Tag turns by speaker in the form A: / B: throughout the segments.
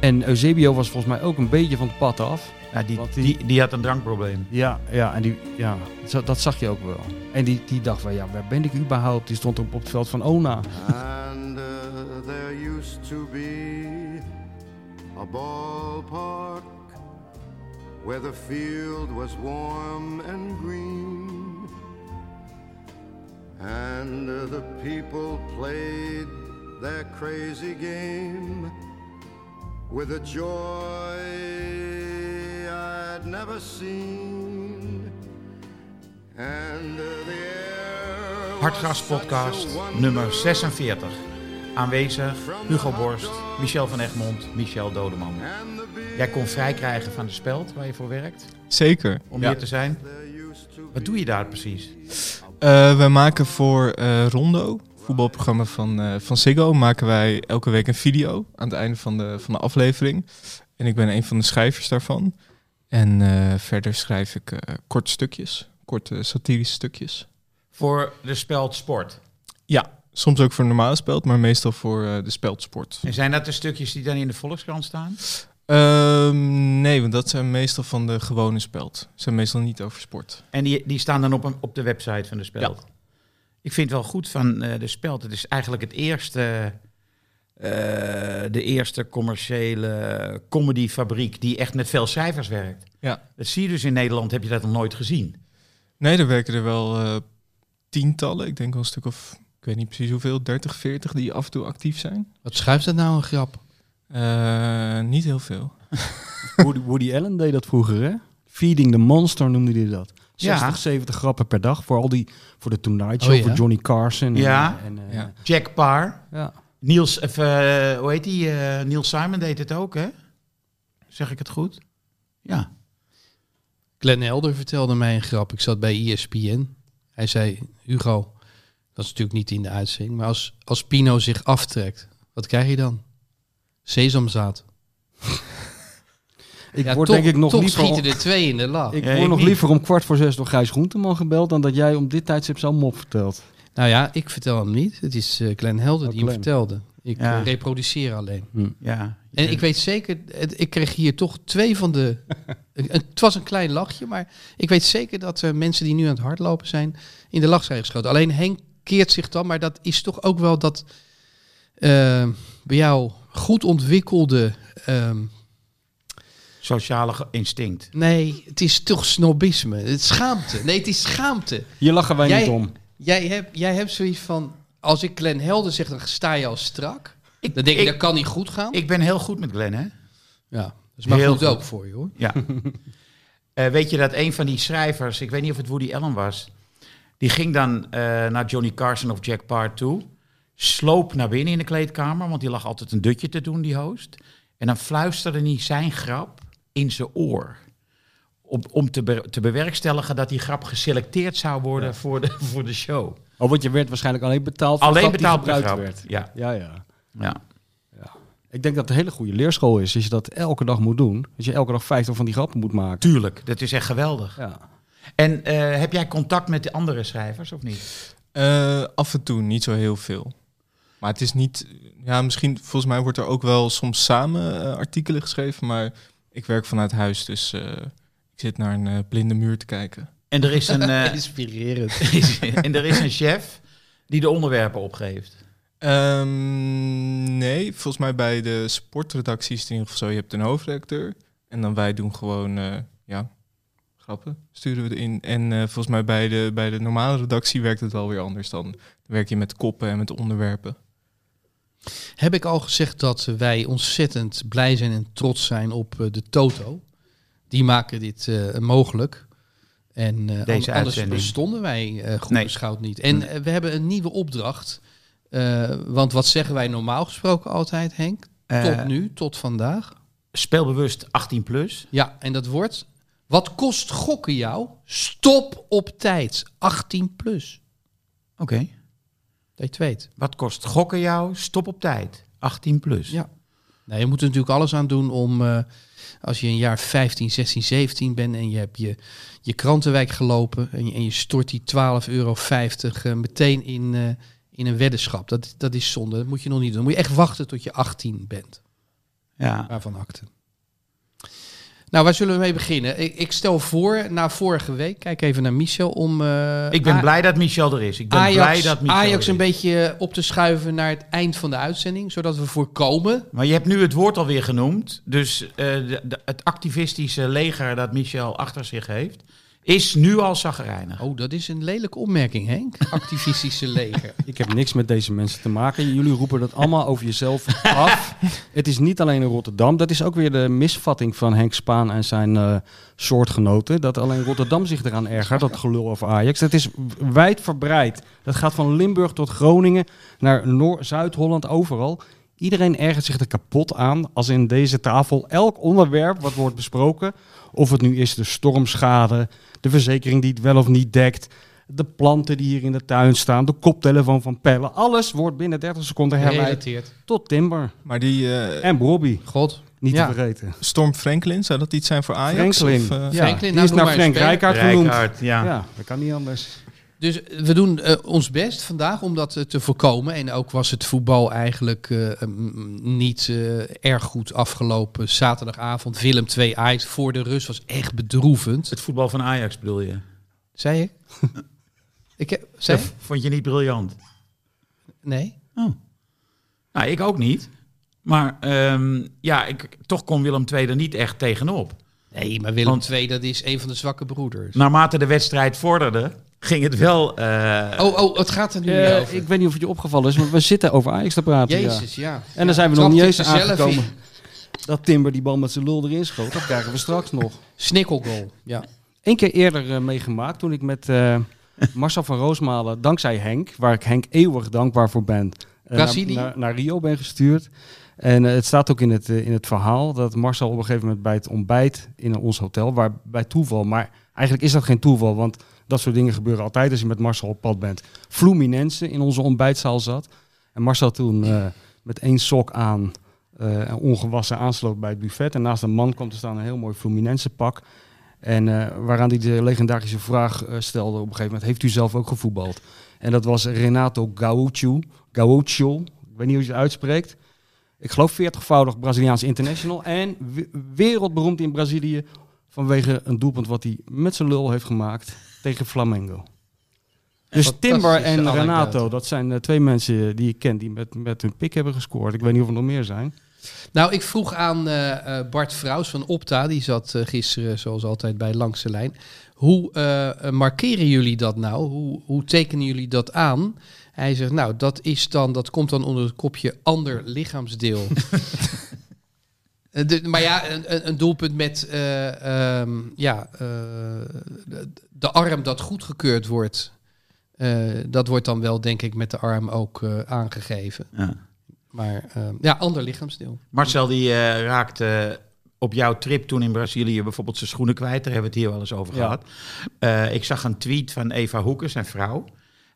A: En Eusebio was volgens mij ook een beetje van het pad af.
B: Ja, die,
A: Want die-
B: die, die had een drankprobleem.
A: Ja, ja, en die, ja zo- dat zag je ook wel. En die, die dacht wel, ja, waar ben ik überhaupt? Die stond op, op het veld van Ona.
C: and uh, there used to be a ballpark where the field was warm and green, and uh, the people played their crazy game with a joy I'd never seen. And uh, the air was
B: Hartgras
C: such a
B: podcast
C: wonderful
B: nummer 46. Aanwezig Hugo Borst, Michel van Egmond, Michel Dodeman. Jij kon vrij krijgen van de speld waar je voor werkt,
D: Zeker.
B: om hier te zijn. Wat doe je daar precies?
D: Eh, wij maken voor eh, Rondo, voetbalprogramma van, eh, van Ziggo, maken wij elke week een video aan het einde van de, van de aflevering. En ik ben een van de schrijvers daarvan. En eh, verder schrijf ik eh korte stukjes, korte satirische stukjes.
B: Voor de speld sport.
D: Ja, soms ook voor normale speld, maar meestal voor eh, de speldsport.
B: En zijn dat de stukjes die dan in de Volkskrant staan?
D: Ehm, nee, want dat zijn meestal van de gewone speld. Zijn meestal niet over sport.
B: En die, die staan dan op, een, op de website van de speld. Ik vind wel goed van eh, de speld. Het is eigenlijk het eerste, eh, de eerste commerciële comedyfabriek die echt met veel cijfers werkt.
D: Ja.
B: Dat zie je dus in Nederland, heb je dat nog nooit gezien.
D: Nee, er werken er wel eh, tientallen. Ik denk wel een stuk of, ik weet niet precies hoeveel, 30, 40 die af en toe actief zijn.
E: Wat schuift dat nou een grap?
D: Eh, niet heel veel.
F: Woody, Woody Allen deed dat vroeger, hè? Feeding the Monster noemde hij dat. 60,
B: Ja.
F: 70 grappen per dag voor al die voor de Tonight
E: Oh,
F: Show,
E: ja.
F: voor Johnny Carson. en-
B: Ja.
F: En, eh,
D: Ja.
B: Jack Parr,
F: ja.
B: Niels, of, eh, hoe heet die? eh Niels Simon deed het ook, hè? Zeg ik het goed? Ja.
E: Glenn Elder vertelde mij een grap. Ik zat bij E ESPN. Hij zei, Hugo, dat is natuurlijk niet in de uitzending, maar als, als Pino zich aftrekt, wat krijg je dan? Sesamzaad.
F: Ik
E: Ja,
F: word
E: toch-
F: denk ik nog
E: toch
F: liever...
E: schieten er twee in de lach.
F: Ik
B: Ja,
F: word
B: ik
F: nog
B: niet.
F: liever om kwart voor zes door Gijs Groenteman gebeld... dan dat jij om dit tijdstip zo'n mop vertelt.
E: Nou ja, ik vertel hem niet. Het is eh Glenn Helder
F: Oh,
E: die hem
F: Glenn.
E: vertelde. Ik
B: Ja.
E: eh, reproduceer alleen.
B: ja.
E: En ik weet zeker, het- ik kreeg hier toch twee van de... Het was een klein lachje, maar ik weet zeker dat eh, mensen die nu aan het hardlopen zijn... in de lach zijn geschoten. Alleen Henk keert zich dan, maar dat is toch ook wel dat... eh, bij jou goed ontwikkelde... ehm,
B: Sociale ge- instinct.
E: nee, het is toch snobisme. Het is schaamte. Nee, het is schaamte.
F: Hier lachen wij
E: Jij-
F: niet om.
E: Jij hebt, jij hebt zoiets van... Als ik Glenn Helder zeg, dan sta je al strak.
B: Ik-
E: dan denk je,
B: ik-
E: dat kan niet goed gaan.
B: Ik ben heel goed met Glenn, hè?
E: ja, dat is maar
B: Heel
E: goed,
B: goed.
E: ook voor je, hoor.
B: Ja. Eh, weet je dat een van die schrijvers, ik weet niet of het Woody Allen was, die ging dan eh, naar Johnny Carson of Jack Parr toe, sloop naar binnen in de kleedkamer, want die lag altijd een dutje te doen, die host. En dan fluisterde hij zijn grap in zijn oor. Om, om te, be- te bewerkstelligen dat die grap geselecteerd zou worden voor, de, voor de show.
F: Oh, want je werd waarschijnlijk alleen betaald voor
B: Alleen
F: de grap die
B: betaald per grap.
F: gebruikt werd.
B: Ja.
F: Ja, ja.
B: Ja.
F: Ik denk dat het een hele goede leerschool is, als je dat elke dag moet doen. Als je elke dag 50 van die grappen moet maken.
B: Tuurlijk, dat is echt geweldig.
F: Ja.
B: En eh, heb jij contact met de andere schrijvers of niet?
D: Eh, af en toe niet zo heel veel. Maar het is niet, ja, misschien, volgens mij wordt er ook wel soms samen eh, artikelen geschreven, maar ik werk vanuit huis, dus eh, ik zit naar een eh, blinde muur te kijken.
B: En er is een, eh,
E: Inspirerend.
B: en er is een chef die de onderwerpen opgeeft.
D: Ehm, nee, volgens mij bij de sportredacties in ieder geval zo. Je hebt een hoofdredacteur en dan wij doen gewoon eh, ja, grappen sturen we erin. En eh, volgens mij bij de, bij de normale redactie werkt het wel weer anders dan. Dan werk je met koppen en met onderwerpen.
E: Heb ik al gezegd dat wij ontzettend blij zijn en trots zijn op eh, de Toto? Die maken dit eh, mogelijk. En eh, an- anders
B: uitzending.
E: bestonden wij eh goed
B: Nee.
E: beschouwd niet. En eh, we hebben een nieuwe opdracht. Eh, want wat zeggen wij normaal gesproken altijd, Henk?
B: Eh,
E: tot nu, tot vandaag.
B: Speelbewust 18 plus.
E: Ja, en dat wordt... Wat kost gokken jou? Stop op tijd. 18 plus.
B: Oké.
E: Dat je het weet.
B: Wat kost gokken jou? Stop op tijd. 18 plus.
E: Ja. Nou, je moet er natuurlijk alles aan doen om, eh, als je een jaar 15, 16, 17 bent en je hebt je, je krantenwijk gelopen en je, en je stort die 12,50 euro meteen in, eh, in een weddenschap. Dat, dat is zonde, dat moet je nog niet doen. Dan moet je echt wachten tot je 18 bent.
B: Ja.
E: Waarvan akte. Nou, waar zullen we mee beginnen? Ik, ik stel voor, na vorige week, kijk even naar Michel om... eh,
B: Ik ben
E: A-
B: blij dat Michel er is. Ik ben
E: Ajax,
B: blij dat Michel
E: Ajax
B: er
E: een
B: is.
E: beetje op te schuiven naar het eind van de uitzending, zodat we voorkomen
B: Maar je hebt nu het woord alweer genoemd. Dus eh, de- de- het activistische leger dat Michel achter zich heeft, is nu al zagrijnig.
E: Oh, dat is een lelijke opmerking, Henk. Activistische leger.
F: Ik heb niks met deze mensen te maken. Jullie roepen dat allemaal over jezelf af. Het is niet alleen in Rotterdam. Dat is ook weer de misvatting van Henk Spaan en zijn eh, soortgenoten. Dat alleen Rotterdam zich eraan ergert. Dat gelul over Ajax. Dat is wijdverbreid. Dat gaat van Limburg tot Groningen naar Noor- Zuid-Holland, overal. Iedereen ergert zich er kapot aan als in deze tafel elk onderwerp wat wordt besproken, of het nu is de stormschade, de verzekering die het wel of niet dekt, de planten die hier in de tuin staan, de koptelefoon van Pellen, alles wordt binnen 30 seconden herleid
E: Gerelateerd.
F: tot timber
D: Maar die eh,
F: en Robbie.
E: God.
F: Niet
E: Ja.
F: te vergeten.
D: Storm Franklin, zou dat iets zijn voor Ajax?
F: Franklin.
D: Of, eh,
F: Ja,
E: Franklin,
F: die
E: nou,
F: is
E: noem
F: naar
E: maar
F: Frank
E: een speler.
F: Rijkaard genoemd.
B: Rijkaard, ja.
F: Ja, dat kan niet anders.
E: Dus we doen eh, ons best vandaag om dat eh, te voorkomen. En ook was het voetbal eigenlijk eh, mm, niet eh, erg goed afgelopen. Zaterdagavond, Willem 2 Ajax voor de rust was echt bedroevend.
B: Het voetbal van Ajax bedoel je?
E: Zei ik? ik heb, zei
B: Dat
E: ik?
B: vond je niet briljant?
E: Nee.
B: Nou, ik ook niet. Maar ehm, ja, ik, toch kon Willem II er niet echt tegenop.
E: Nee, maar Willem
B: Want-
E: 2 dat is een van de zwakke broeders.
B: Naarmate de wedstrijd vorderde, ging het wel... eh,
E: oh, oh, het gaat er nu niet over.
F: ik weet niet of het je opgevallen is, maar we zitten over Ajax te praten. ja.
E: Jezus, ja.
F: En dan zijn we
E: Trapte
F: nog niet
E: ik
F: eens
E: er zelf in.
F: aangekomen. Dat Timber die bal met zijn lul erin schoot, dat krijgen we straks nog.
E: Snikkelgoal. Ja.
F: Eén keer eerder eh, meegemaakt toen ik met eh, Marcel van Roosmalen, dankzij Henk, waar ik Henk eeuwig dankbaar voor ben, eh,
E: Brazilië?
F: naar, naar, naar Rio ben gestuurd. En eh, het staat ook in het, eh, in het verhaal dat Marcel op een gegeven moment bij het ontbijt in ons hotel, waar bij toeval, maar eigenlijk is dat geen toeval, want dat soort dingen gebeuren altijd als je met Marcel op pad bent. Fluminense in onze ontbijtzaal zat. En Marcel toen eh, met één sok aan eh, en ongewassen aansloot bij het buffet. En naast een man kwam te staan een heel mooi Fluminense pak. En eh, waaraan hij de legendarische vraag eh, stelde op een gegeven moment: Heeft u zelf ook gevoetbald? En dat was Renato Gaucho. Gaucho, ik weet niet hoe je het uitspreekt. Ik geloof 40-voudig Braziliaans international. En we- wereldberoemd in Brazilië vanwege een doelpunt wat hij met zijn lul heeft gemaakt tegen Flamengo. Dus
E: Fantastische
F: Timber en
E: anekdote.
F: Renato, dat zijn eh, twee mensen die ik ken die met, met hun pik hebben gescoord. Ik weet niet of er nog meer zijn.
E: Nou, ik vroeg aan eh, eh, Bart Vrouws van Opta, die zat eh, gisteren zoals altijd bij Langs de Lijn. Hoe eh, eh, markeren jullie dat nou? Hoe, hoe tekenen jullie dat aan? Hij zegt, nou, dat, is dan, dat komt dan onder het kopje ander lichaamsdeel. Eh, de- maar ja, een, een- een doelpunt met eh, ehm, ja, eh, de, de arm dat goedgekeurd wordt. eh, dat wordt dan wel, denk ik, met de arm ook eh, aangegeven.
B: ja.
E: Maar ehm, ja, ander lichaamsdeel.
B: Marcel die eh, raakte op jouw trip toen in Brazilië bijvoorbeeld zijn schoenen kwijt. Daar hebben we het hier wel eens over
F: Ja.
B: gehad. Eh, ik zag een tweet van Eva Hoeken, zijn vrouw.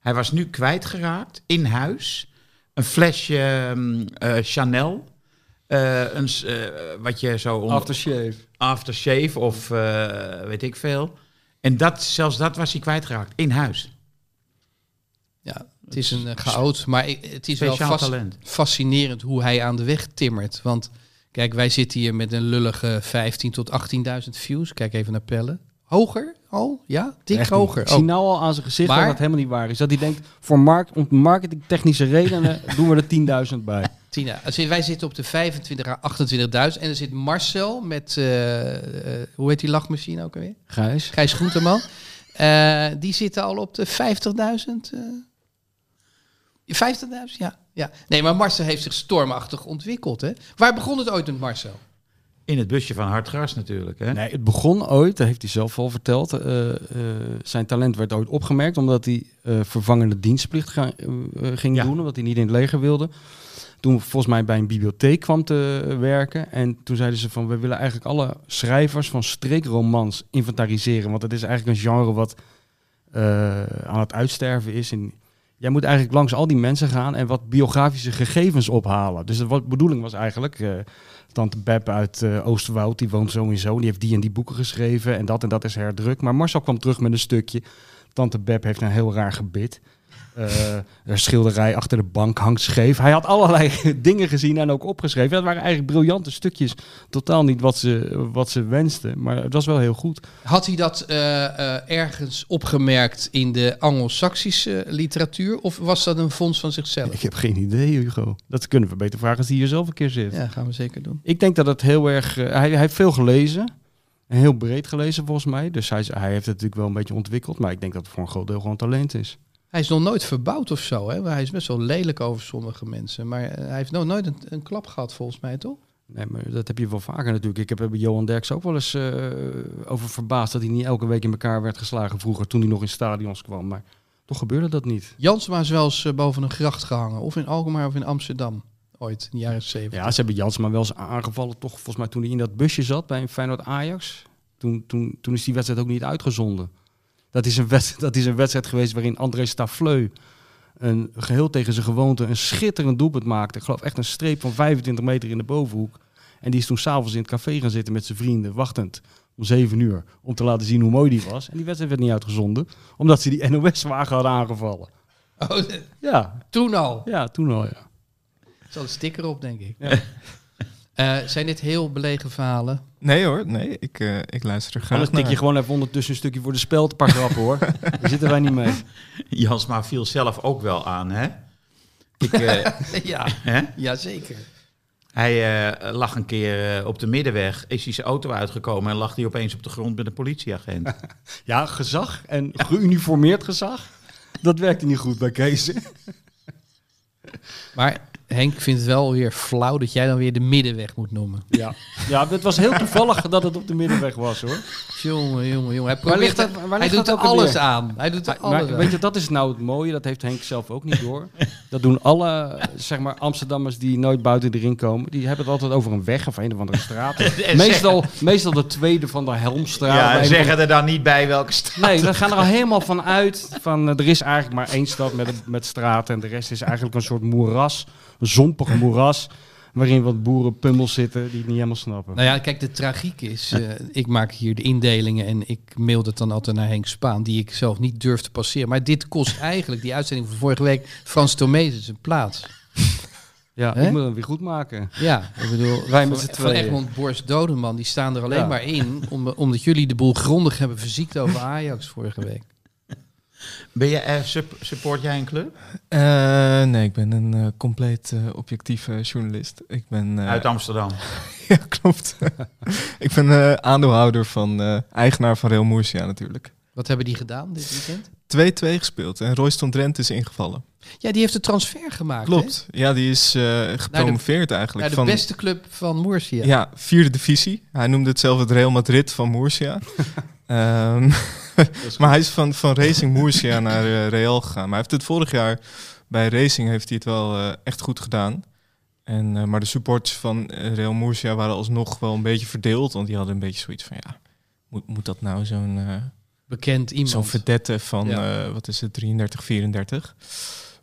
B: Hij was nu kwijtgeraakt in huis. Een flesje ehm, eh, Chanel. Eh, een, s- eh, wat je zo onder-
F: Aftershave.
B: aftershave of eh, weet ik veel. En dat, zelfs dat was hij kwijtgeraakt in huis.
E: Ja, het is een eh, chaot, maar i- het is wel
B: Speciaal
E: fas-
B: talent.
E: fascinerend hoe hij aan de weg timmert. Want kijk, wij zitten hier met een lullige 15 tot 18.000 views. Kijk even naar Pelle. Hoger al? Ja, dik
F: Echt niet.
E: hoger.
F: Ik zie
E: Oh,
F: nou al aan zijn gezicht
E: Maar-
F: dat dat helemaal niet waar is. Dat hij denkt, voor mark om marketingtechnische redenen doen we er 10.000 bij.
E: Tina, als- wij zitten op de 25 à 28.000 en er zit Marcel met, eh, eh, hoe heet die lachmachine ook alweer?
F: Gijs.
E: Gijs Groenteman. Eh, die zitten al op de 50.000. eh 50.000, ja. ja. Nee, maar Marcel heeft zich stormachtig ontwikkeld. Hè? Waar begon het ooit met Marcel?
B: In het busje van Hartgras natuurlijk. Hè?
F: Nee, het begon ooit, dat heeft hij zelf al verteld. eh, eh, zijn talent werd ooit opgemerkt omdat hij eh, vervangende dienstplicht ga- eh, eh, ging
B: Ja.
F: doen, omdat hij niet in het leger wilde. Toen volgens mij bij een bibliotheek kwam te eh, werken. En toen zeiden ze van, we willen eigenlijk alle schrijvers van streekromans inventariseren. Want het is eigenlijk een genre wat eh, aan het uitsterven is. En jij moet eigenlijk langs al die mensen gaan en wat biografische gegevens ophalen. Dus de wat bedoeling was eigenlijk... eh, Tante Beb uit eh, Oosterwoud, die woont zo en zo. Die heeft die en die boeken geschreven en dat en dat is herdruk. Maar Marcel kwam terug met een stukje. Tante Beb heeft een heel raar gebit. Eh een schilderij achter de bank hangt scheef. Hij had allerlei dingen gezien en ook opgeschreven. Dat waren eigenlijk briljante stukjes. Totaal niet wat ze, wat ze wensten, maar het was wel heel goed.
E: Had hij dat eh, eh, ergens opgemerkt in de Anglo-Saxische eh, literatuur? Of was dat een fonds van zichzelf?
F: Ik heb geen idee, Hugo. Dat kunnen we beter vragen als die hier zelf een keer zit.
E: Ja, gaan we zeker doen.
F: Ik denk dat het heel erg. eh, hij, hij heeft veel gelezen. En heel breed gelezen volgens mij. Dus hij, is- hij heeft het natuurlijk wel een beetje ontwikkeld. Maar ik denk dat het voor een groot deel gewoon talent is.
E: Hij is nog nooit verbouwd of zo. Hè? Hij is best wel lelijk over sommige mensen. Maar eh, hij heeft nog nooit een, een klap gehad, volgens mij, toch?
F: Nee, maar dat heb je wel vaker natuurlijk. Ik heb er bij Johan Derks ook wel eens eh, over verbaasd dat hij niet elke week in elkaar werd geslagen vroeger toen hij nog in stadions kwam. Maar toch gebeurde dat niet.
E: Jansma is wel eens eh, boven een gracht gehangen. Of in Alkmaar of in Amsterdam. Ooit, in de jaren zeventig.
F: Ja, ze hebben Jansma wel eens aangevallen, toch volgens mij toen hij in dat busje zat bij een Feyenoord Ajax. Toen, toen, toen is die wedstrijd ook niet uitgezonden. Dat is een, wed- dat is een wedstrijd geweest waarin André Stafleu een geheel tegen zijn gewoonte een schitterend doelpunt maakte. Ik geloof echt een streep van 25 meter in de bovenhoek. En die is toen s'avonds in het café gaan zitten met zijn vrienden, wachtend om 7 uur, om te laten zien hoe mooi die was. En die wedstrijd werd niet uitgezonden, omdat ze die NOS-wagen hadden aangevallen.
E: Oh,
F: Ja,
E: toen al.
F: ja toen al ja.
E: Er zat een sticker op, denk ik. Eh, zijn dit heel belegen verhalen?
D: Nee hoor, nee, ik, eh, ik luister er graag
F: Anders tik
D: naar.
F: je gewoon even ondertussen een stukje voor de speld een paar grappen hoor. Daar zitten wij niet mee.
B: Jansma viel zelf ook wel aan. Hè? Ik, eh,
E: ja,
B: hè?
E: ja, zeker.
B: Hij eh, lag een keer eh, op de middenweg, is hij zijn auto uitgekomen en lag hij opeens op de grond met een politieagent.
F: Ja, gezag en geuniformeerd gezag. Dat werkte niet goed bij Kees. hè?
E: Maar Henk vindt het wel weer flauw dat jij dan weer de middenweg moet noemen.
F: Ja. ja, het was heel toevallig dat het op de middenweg was hoor.
E: Jongen, jongen, jongen. Hij, probeert
F: ligt dat-
E: er-
F: waar
E: hij
F: ligt
E: doet
F: dat
E: er
F: ook
E: alles
F: alweer?
E: aan. Hij doet er
F: Maar,
E: alles
F: maar
E: aan.
F: weet je, dat is nou het mooie. Dat heeft Henk zelf ook niet door. Dat doen alle eh, zeg maar, Amsterdammers die nooit buiten de ring komen. Die hebben het altijd over een weg of een of andere straat.
B: En
F: Meestal, meestal de tweede van de Helmstraat.
B: ja,
F: Bij
B: en
F: een
B: zeggen er dan niet bij welke stad.
F: Nee, we gaan er al helemaal van uit. Van, eh, er is eigenlijk maar één stad met, met straten. En de rest is eigenlijk een soort moeras. Een zompig moeras. Waarin wat boerenpummels zitten die het niet helemaal snappen.
E: Nou ja, kijk, de tragiek is, eh, ik maak hier de indelingen en ik mail dat dan altijd naar Henk Spaan, die ik zelf niet durf te passeren. Maar dit kost eigenlijk, die uitzending van vorige week, Frans Tomezen zijn plaats.
F: ja,
E: hè?
F: ik moet hem weer goed maken.
E: Ja, ik bedoel,
F: Wij met
E: van,
F: z'n
E: van
F: tweeën.
E: Egmond Borst Dodeman, die staan er alleen
F: Ja.
E: maar in, om- omdat jullie de boel grondig hebben verziekt over Ajax vorige week.
B: Ben je, eh, sup- support jij een club?
D: Eh, nee, ik ben een eh, compleet eh, objectieve journalist. Ik ben... eh,
B: Uit Amsterdam.
D: ja, klopt. ik ben eh, aandeelhouder van... eh, eigenaar van Real Murcia natuurlijk. 2-2
E: Wat hebben die gedaan dit weekend?
D: gespeeld en Royston Drent is ingevallen.
E: Ja, die heeft de transfer gemaakt. hè?
D: Klopt. Ja, die is eh, gepromoveerd eigenlijk.
E: Naar de
D: van,
E: beste club van Moersia.
D: Ja. vierde divisie. Hij noemde het zelf het Real Madrid van Murcia. Ehm, maar hij is van, van Racing Murcia naar eh, Real gegaan. Maar hij heeft het vorig jaar bij Racing heeft hij het wel eh, echt goed gedaan. En, eh, maar de supporters van eh, Real Murcia waren alsnog wel een beetje verdeeld. Want die hadden een beetje zoiets van, ja, moet, moet dat nou zo'n... eh,
E: Bekend iemand.
D: Zo'n verdette van,
E: Ja.
D: eh, wat is het, 33, 34.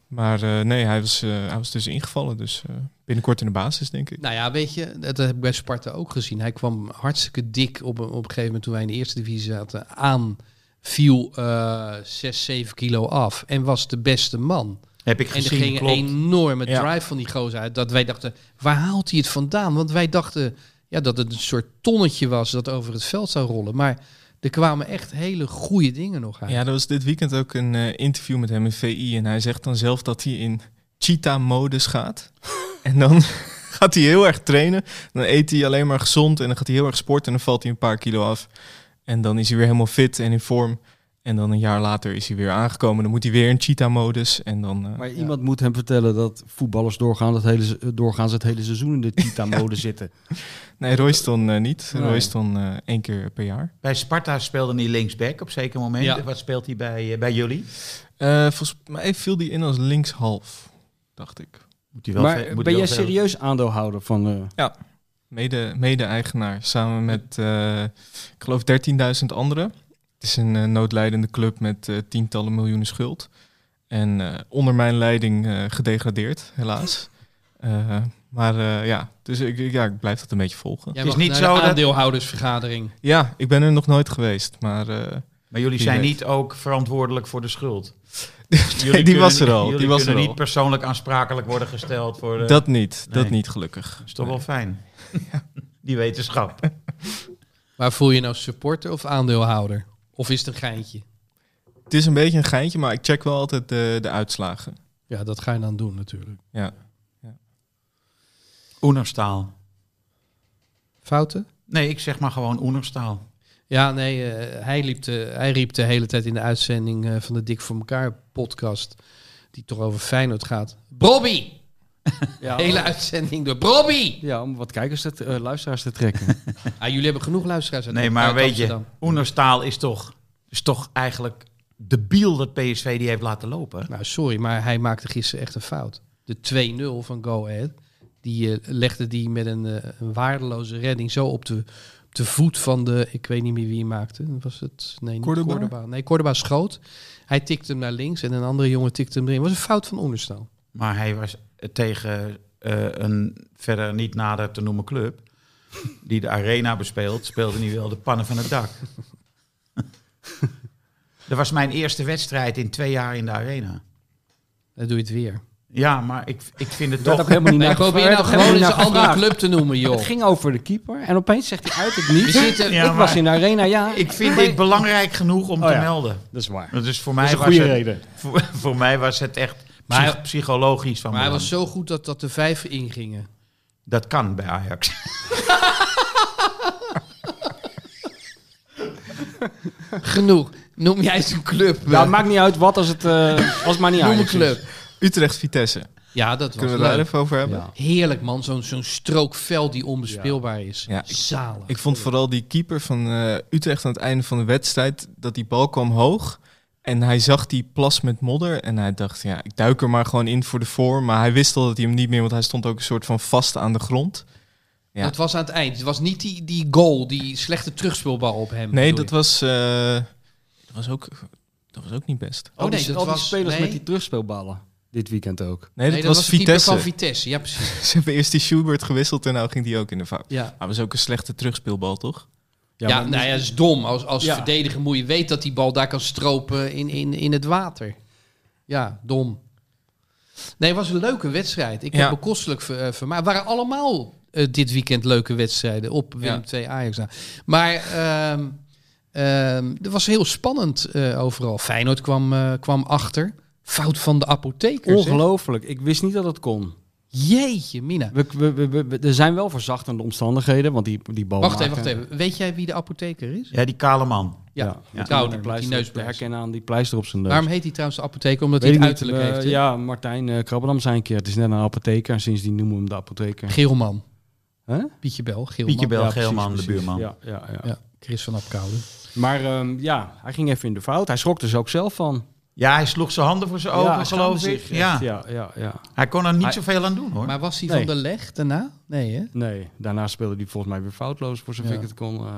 D: Maar eh, nee, hij was, eh, hij was dus ingevallen. Dus eh, binnenkort in de basis, denk ik.
E: Nou ja, weet je, dat heb ik bij Sparta ook gezien. Hij kwam hartstikke dik op een, op een gegeven moment toen wij in de eerste divisie zaten aan. Viel eh 6, 7 kilo af en was de beste man.
B: Heb ik
E: En er
B: gezien,
E: ging een
B: klopt.
E: enorme
D: Ja.
E: drive van die gozer uit. Dat wij dachten, waar haalt hij het vandaan? Want wij dachten ja, dat het een soort tonnetje was dat over het veld zou rollen. Maar er kwamen echt hele goede dingen nog uit.
D: Ja, er was dit weekend ook een eh, interview met hem in VI. En hij zegt dan zelf dat hij in cheetah-modus gaat. En dan gaat hij heel erg trainen. Dan eet hij alleen maar gezond en dan gaat hij heel erg sporten en dan valt hij een paar kilo af. En dan is hij weer helemaal fit en in vorm. En dan een jaar later is hij weer aangekomen. Dan moet hij weer in cheetah-modus. En dan. eh,
F: Maar
D: ja.
F: iemand moet hem vertellen dat voetballers doorgaan, dat hele, se- doorgaans het hele seizoen in de Tita-mode zitten.
D: Nee, Royston eh, niet.
F: Nee.
D: Royston eh één keer per jaar.
B: Bij Sparta speelde hij linksback op zeker moment.
E: Ja.
B: Wat speelt hij bij, eh, bij jullie?
D: Eh, volgens mij viel die in als linkshalf, dacht ik.
B: Moet hij wel
F: Maar eh,
B: ve- moet
F: ben
B: hij
F: jij
B: wel veel-
F: serieus aandeelhouder van... eh,
D: Mede- Mede-eigenaar, samen met, eh, ik geloof, 13.000 anderen. Het is een eh, noodlijdende club met eh, tientallen miljoenen schuld. En eh, onder mijn leiding eh, gedegradeerd, helaas. Eh, maar eh, ja, dus ik, ik- ja, ik blijf dat een beetje volgen.
E: Jij
B: Het is
E: mag
B: niet
E: naar
B: zo
E: de
B: dat-
E: aandeelhoudersvergadering.
D: Ja, ik ben er nog nooit geweest, maar eh,
B: Maar jullie
D: Wie
B: zijn
D: weet.
B: niet ook verantwoordelijk voor de schuld.
D: die was er al,
B: Jullie
D: die was
B: kunnen
D: er al.
B: niet persoonlijk aansprakelijk worden gesteld voor. De, dat
D: dat niet. Dat
B: nee.
D: niet, gelukkig.
B: is toch wel fijn. Die wetenschap.
E: Maar voel je nou supporter of aandeelhouder? Of is het een geintje?
D: Het is een beetje een geintje, maar ik check wel altijd de, de uitslagen.
E: Ja, dat ga je dan doen natuurlijk.
D: Ja.
B: Oenerstaal.
E: Fouten?
B: Nee, ik zeg maar gewoon Oenerstaal.
E: Ja, nee, eh, hij, liep de, hij riep de hele tijd in de uitzending eh, van de Dik voor elkaar podcast, die toch over Feyenoord gaat. Bobby!
F: ja,
E: Hele
F: om-
E: uitzending door Bobby!
F: ja, om wat kijkers, te, eh, luisteraars te trekken.
E: Ah, jullie hebben genoeg luisteraars uit,
B: Nee, maar
E: uit
B: weet je,
E: Amsterdam.
B: Oenerstaal is toch, is toch eigenlijk de biel dat PSV die heeft laten lopen.
E: Nou, sorry, maar hij maakte gisteren echt een fout. De 2-0 van Go Ahead, die eh, legde die met een, eh, een waardeloze redding zo op de, op de voet van de... Ik weet niet meer wie hij maakte. Was het? Nee, niet
D: Cordoba?
E: Cordoba. Nee, Cordoba schoot. Hij tikte hem naar links en een andere jongen tikte hem erin. was een fout van Oenerstal.
B: Maar hij was tegen eh, een verder niet nader te noemen club. Die de arena bespeelt, speelde hij wel de pannen van het dak. Dat was mijn eerste wedstrijd in twee jaar in de arena.
E: Dan doe je het weer.
B: Ja, maar ik, ik vind het
F: Dat
B: toch.
F: ook helemaal niet
E: Nee,
F: naar
E: probeer
F: werd
E: nou
F: ook
E: gewoon eens
F: helemaal
E: een
F: niet naar
E: andere
F: gevraagd.
E: club te noemen,
F: Het
E: joh.
F: ging over de keeper en opeens zegt hij uit het niet.
E: We zitten...
B: Ja,
F: ik was
B: maar
F: in de arena, ja.
B: Ik vind dit belangrijk genoeg om
F: Oh
B: te
F: ja.
B: melden.
F: Dat is waar.
B: Dus voor
F: Dat
B: mij,
F: is een
B: was
F: goede
B: het,
F: reden.
B: voor, voor mij was het echt
E: Maar hij-
B: psych- psychologisch van
E: Maar hij
B: belang.
E: was zo goed dat, dat de vijf ingingen.
B: Dat kan bij Ajax.
E: Genoeg. Noem jij zo'n club.
F: Ja,
E: eh,
F: het maakt niet uit wat als het, eh, als het maar niet
E: noem een
F: Ajax is.
E: club.
D: Utrecht-Vitesse.
E: Ja, dat was
D: Kunnen we daar
E: leuk.
D: even over hebben?
F: Ja.
E: Heerlijk, man. Zo'n zo'n strook veld die onbespeelbaar is.
D: Ja, ik-
E: Zalig.
D: Ik vond vooral die keeper van eh, Utrecht aan het einde van de wedstrijd, dat die bal kwam hoog. En hij zag die plas met modder en hij dacht, ja, ik duik er maar gewoon in voor de voor. Maar hij wist al dat hij hem niet meer, want hij stond ook een soort van vast aan de grond. ja.
E: Dat was aan het eind. Het was niet die, die goal, die slechte terugspeelbal op hem.
D: Nee,
E: bedoel
D: dat
E: je.
D: was, eh, dat was, ook, dat was ook niet best.
E: Oh,
F: Al die-
E: nee, dat
F: al die
E: was-
F: spelers
E: nee.
F: met die terugspeelballen. Dit weekend ook.
D: Nee, dat,
E: Nee,
D: was,
E: de keeper
D: Vitesse.
E: van Vitesse. Ja, precies.
D: Ze hebben eerst die Schubert gewisseld en nou ging die ook in de fout.
E: Ja.
D: Maar was ook een slechte terugspeelbal, toch?
E: Ja,
F: maar-
E: nou ja, dat is dom. Als, als
F: Ja.
E: verdediger moet je weten dat die bal daar kan stropen in, in, in het water. Ja, dom. Nee, het was een leuke wedstrijd. Ik
D: Ja.
E: heb me kostelijk ver, eh, vermaakt. Het waren allemaal eh, dit weekend leuke wedstrijden op Willem
D: Ja.
E: 2 Ajax. na. Maar ehm ehm, het was heel spannend eh, overal. Feyenoord kwam, eh, kwam achter. Fout van de apotheker.
F: Ongelooflijk. Ik wist niet dat het kon.
E: Jeetje, Mina.
F: We, we, we- we- we- er zijn wel verzachtende omstandigheden, want die, die bal
E: Wacht even, wacht
F: maken-
E: even. Weet jij wie de apotheker is?
B: Ja, die kale man.
E: Ja,
F: met
E: Trouwens,
F: die
E: die
F: pleister op-
E: neuspleister.
F: herkennen aan die pleister op zijn neus.
E: Waarom heet hij trouwens de apotheker? Omdat
F: Weet
E: hij
F: ik
E: het
F: niet,
E: uiterlijk
F: eh,
E: heeft. hè?
F: Ja, Martijn eh Krabbenam zei een keer, het is net een apotheker. En sindsdien noemen we hem de apotheker.
E: Geelman.
F: Huh?
E: Pietje Bel, Geelman.
B: Pietje Bel,
F: Ja, precies,
B: Geelman, de
F: precies.
B: buurman.
F: Ja, ja, ja.
E: Ja, Chris van Apkoude.
F: Maar ehm, ja, hij ging even in de fout. Hij schrok er dus ook zelf van.
B: Ja, hij sloeg zijn handen voor zijn
F: Ja,
B: ogen,
F: hij schaamde
B: geloof ik.
F: zich echt.
B: Ja.
F: ja, ja, ja.
B: Hij kon er niet
F: Hij-
B: zoveel aan doen, hoor.
E: Maar was hij
F: Nee.
E: van de leg daarna? Nee, hè?
F: Nee, daarna speelde hij volgens mij weer foutloos, voor zover
E: Ja.
F: ik het kon. eh.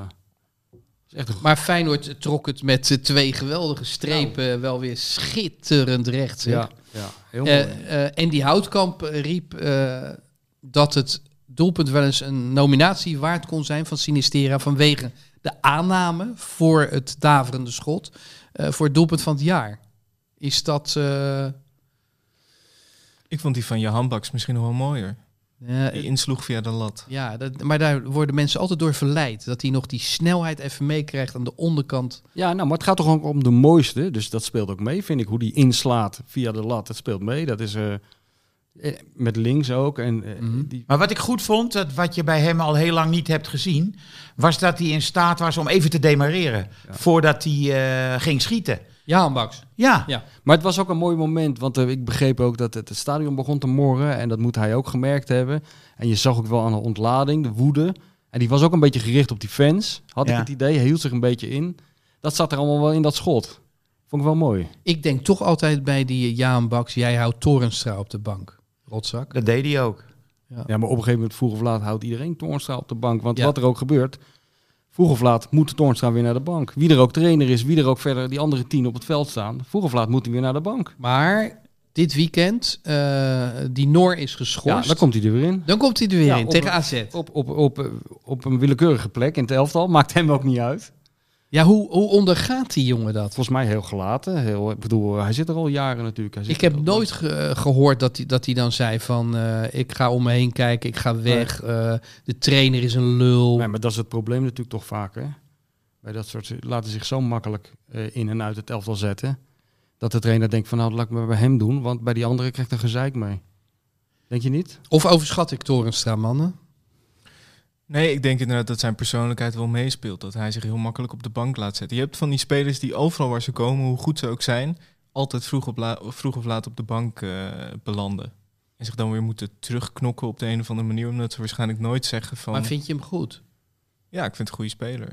F: is echt een
E: Maar Feyenoord trok het met eh, twee geweldige strepen wel weer schitterend recht. zeg.
F: Nou. Ja, ja, heel
E: Eh,
F: mooi.
E: eh, en die Houtkamp riep eh, dat het doelpunt wel eens een nominatie waard kon zijn van Sinistera vanwege de aanname voor het daverende schot eh, voor het doelpunt van het jaar. Is dat... eh,
D: Ik vond die van Johan Baks misschien nog wel mooier.
E: eh,
D: Die insloeg via de lat.
E: Ja, dat, maar daar worden mensen altijd door verleid. Dat hij nog die snelheid even meekrijgt aan de onderkant.
F: Ja, nou, maar het gaat toch ook om de mooiste. Dus dat speelt ook mee, vind ik. Hoe die inslaat via de lat, dat speelt mee. Dat is, eh, Eh, Met links ook. En, eh,
E: Mhm.
F: die,
B: Maar wat ik goed vond, dat wat je bij hem al heel lang niet hebt gezien, was dat hij in staat was om even te demareren voordat hij eh, ging schieten.
E: Ja, Max.
B: Ja,
F: maar het was ook een mooi moment, want eh, ik begreep ook dat het, het stadion begon te morren. En dat moet hij ook gemerkt hebben. En je zag ook wel aan de ontlading, de woede. En die was ook een beetje gericht op die fans, had
B: Ja.
F: ik het idee. Hij hield zich een beetje in. Dat zat er allemaal wel in dat schot. Vond ik wel mooi.
E: Ik denk toch altijd bij die Jaan Baks, jij houdt Torenstra op de bank. Rotzak.
B: dat deed hij ook.
F: Ja, maar op een gegeven moment, vroeg of laat, houdt iedereen Toornstra op de bank. Want
E: Ja.
F: wat er ook gebeurt, vroeg of laat moet Toornstra weer naar de bank. Wie er ook trainer is, wie er ook verder die andere tien op het veld staan, vroeg of laat moet hij weer naar de bank.
E: Maar dit weekend, eh, die Noor is
F: Ja,
E: geschorst.
F: dan komt hij er weer in.
E: Dan komt hij er weer
F: Ja,
E: in,
F: op-
E: tegen AZ.
F: Op, op, op, eh, op een willekeurige plek in het elftal, maakt hem ook niet uit.
E: Ja, hoe, hoe ondergaat die jongen dat?
F: Volgens mij heel gelaten. Heel, ik bedoel, eh, hij zit er al jaren natuurlijk. Hij zit
E: Ik heb
F: er al-
E: nooit ge- eh, gehoord dat hij dat hij dan zei van... eh, ik ga om me heen kijken, ik ga weg, eh, de trainer is een lul.
F: Nee, maar dat is het probleem natuurlijk toch vaak. Hè? Bij dat soort laten zich zo makkelijk eh, in en uit het elftal zetten. Dat de trainer denkt van nou, dat laat ik maar bij hem doen. Want bij die andere krijgt een gezeik mee. Denk je niet?
E: Of overschat ik Torenstra, mannen?
D: Nee, ik denk inderdaad dat zijn persoonlijkheid wel meespeelt. Dat hij zich heel makkelijk op de bank laat zetten. Je hebt van die spelers die overal waar ze komen, hoe goed ze ook zijn, altijd vroeg, op la- vroeg of laat op de bank eh, belanden. En zich dan weer moeten terugknokken op de een of andere manier. Omdat ze waarschijnlijk nooit zeggen van...
E: Maar vind je hem goed?
D: Ja, ik vind het een goede speler.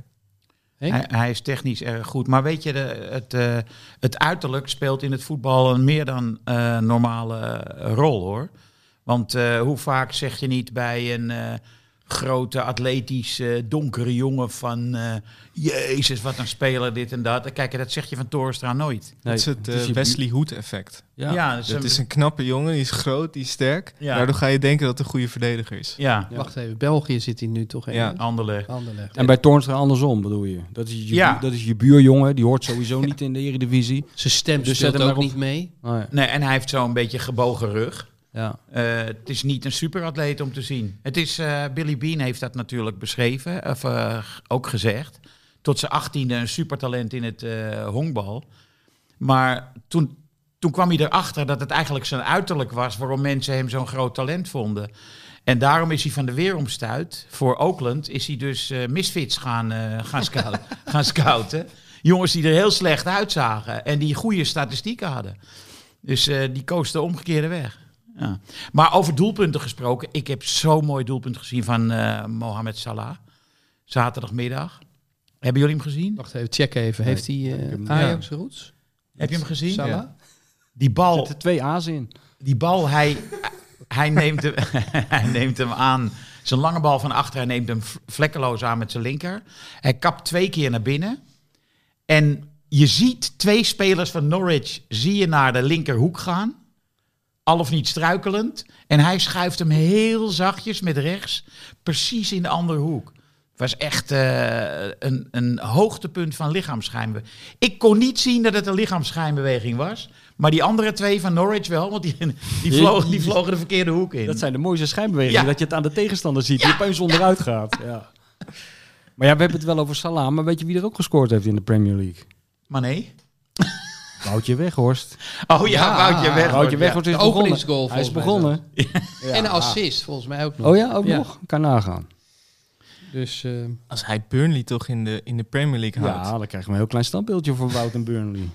E: Henk?
B: Hij, hij is technisch erg goed. Maar weet je, de, het, eh, het uiterlijk speelt in het voetbal een meer dan eh, normale eh, rol hoor. Want eh, hoe vaak zeg je niet bij een eh, grote, atletische, donkere jongen van... eh, Jezus, wat een speler, dit en dat. Kijk, dat zeg je van Torstra nooit.
D: dat is het
F: het is
D: eh,
F: je-
D: Wesley Hoed effect.
F: Ja.
B: dat is
D: Dat
B: een-
D: is een knappe jongen, die is groot, die is sterk.
B: Ja.
D: Daardoor ga je denken dat het een goede verdediger is.
B: Ja,
E: Wacht even, België zit hij nu toch in?
D: Ja.
B: Anderlecht.
E: Anderlecht.
F: En bij Toornstra andersom bedoel je. Dat is je,
B: Ja.
F: dat is je buurjongen. Die hoort sowieso niet in de eredivisie.
E: Zijn stem
F: Dus zet hem
E: speelt ook
F: maar op.
E: niet mee.
F: Nee.
B: Nee, en hij heeft zo'n beetje gebogen rug.
F: Ja.
B: Eh, het is niet een superatleet om te zien. Het is, eh, Billy Bean heeft dat natuurlijk beschreven, of eh, g- ook gezegd. Tot zijn achttiende een supertalent in het eh honkbal. Maar toen, toen kwam hij erachter dat het eigenlijk zijn uiterlijk was... waarom mensen hem zo'n groot talent vonden. En daarom is hij van de weeromstuit voor Oakland... is hij dus eh, misfits gaan, eh, gaan, scouten, gaan scouten. Jongens die er heel slecht uitzagen en die goede statistieken hadden. Dus eh, die koos de omgekeerde weg. Ja. Maar over doelpunten gesproken. Ik heb zo'n mooi doelpunt gezien van eh, Mohamed Salah. Zaterdagmiddag. Hebben jullie hem gezien?
E: Wacht even, check even. Heeft hij eh,
F: hem-
E: Ajax roots?
B: Heb je hem gezien?
E: Salah?
D: Ja.
B: Die
F: Er
B: bal,
F: zitten twee A's in.
B: die bal hij, hij, neemt hem, hij neemt hem aan. Zijn lange bal van achter, hij neemt hem v- vlekkeloos aan met zijn linker. Hij kapt twee keer naar binnen. En je ziet twee spelers van Norwich, zie je naar de linkerhoek gaan. Al of niet struikelend. En hij schuift hem heel zachtjes met rechts, precies in de andere hoek. was echt eh, een, een hoogtepunt van lichaamsschijnbeweging. Ik kon niet zien dat het een lichaamsschijnbeweging was. Maar die andere twee van Norwich wel, want die, die, vlogen, die vlogen de verkeerde hoek in.
F: Dat zijn de mooiste schijnbewegingen.
B: Ja.
F: Dat je het aan de tegenstander ziet. Die opeens onderuit gaat. Ja. Maar ja, we hebben het wel over Salah. Maar weet je wie er ook gescoord heeft in de Premier League?
B: Maar nee.
F: Woutje Weghorst.
B: Oh ja, Woutje weg.
F: Woutje Weghorst is
E: De
F: begonnen.
E: openingsgoal
F: Hij is
E: volgens mij
F: begonnen.
E: En een assist, volgens mij ook nog.
F: Oh ja, ook
E: Ja.
F: nog? Kan nagaan.
E: Dus eh,
D: Als hij Burnley toch in de, in de Premier League houdt.
F: Ja, dan krijg je een heel klein standbeeldje voor Wout en Burnley.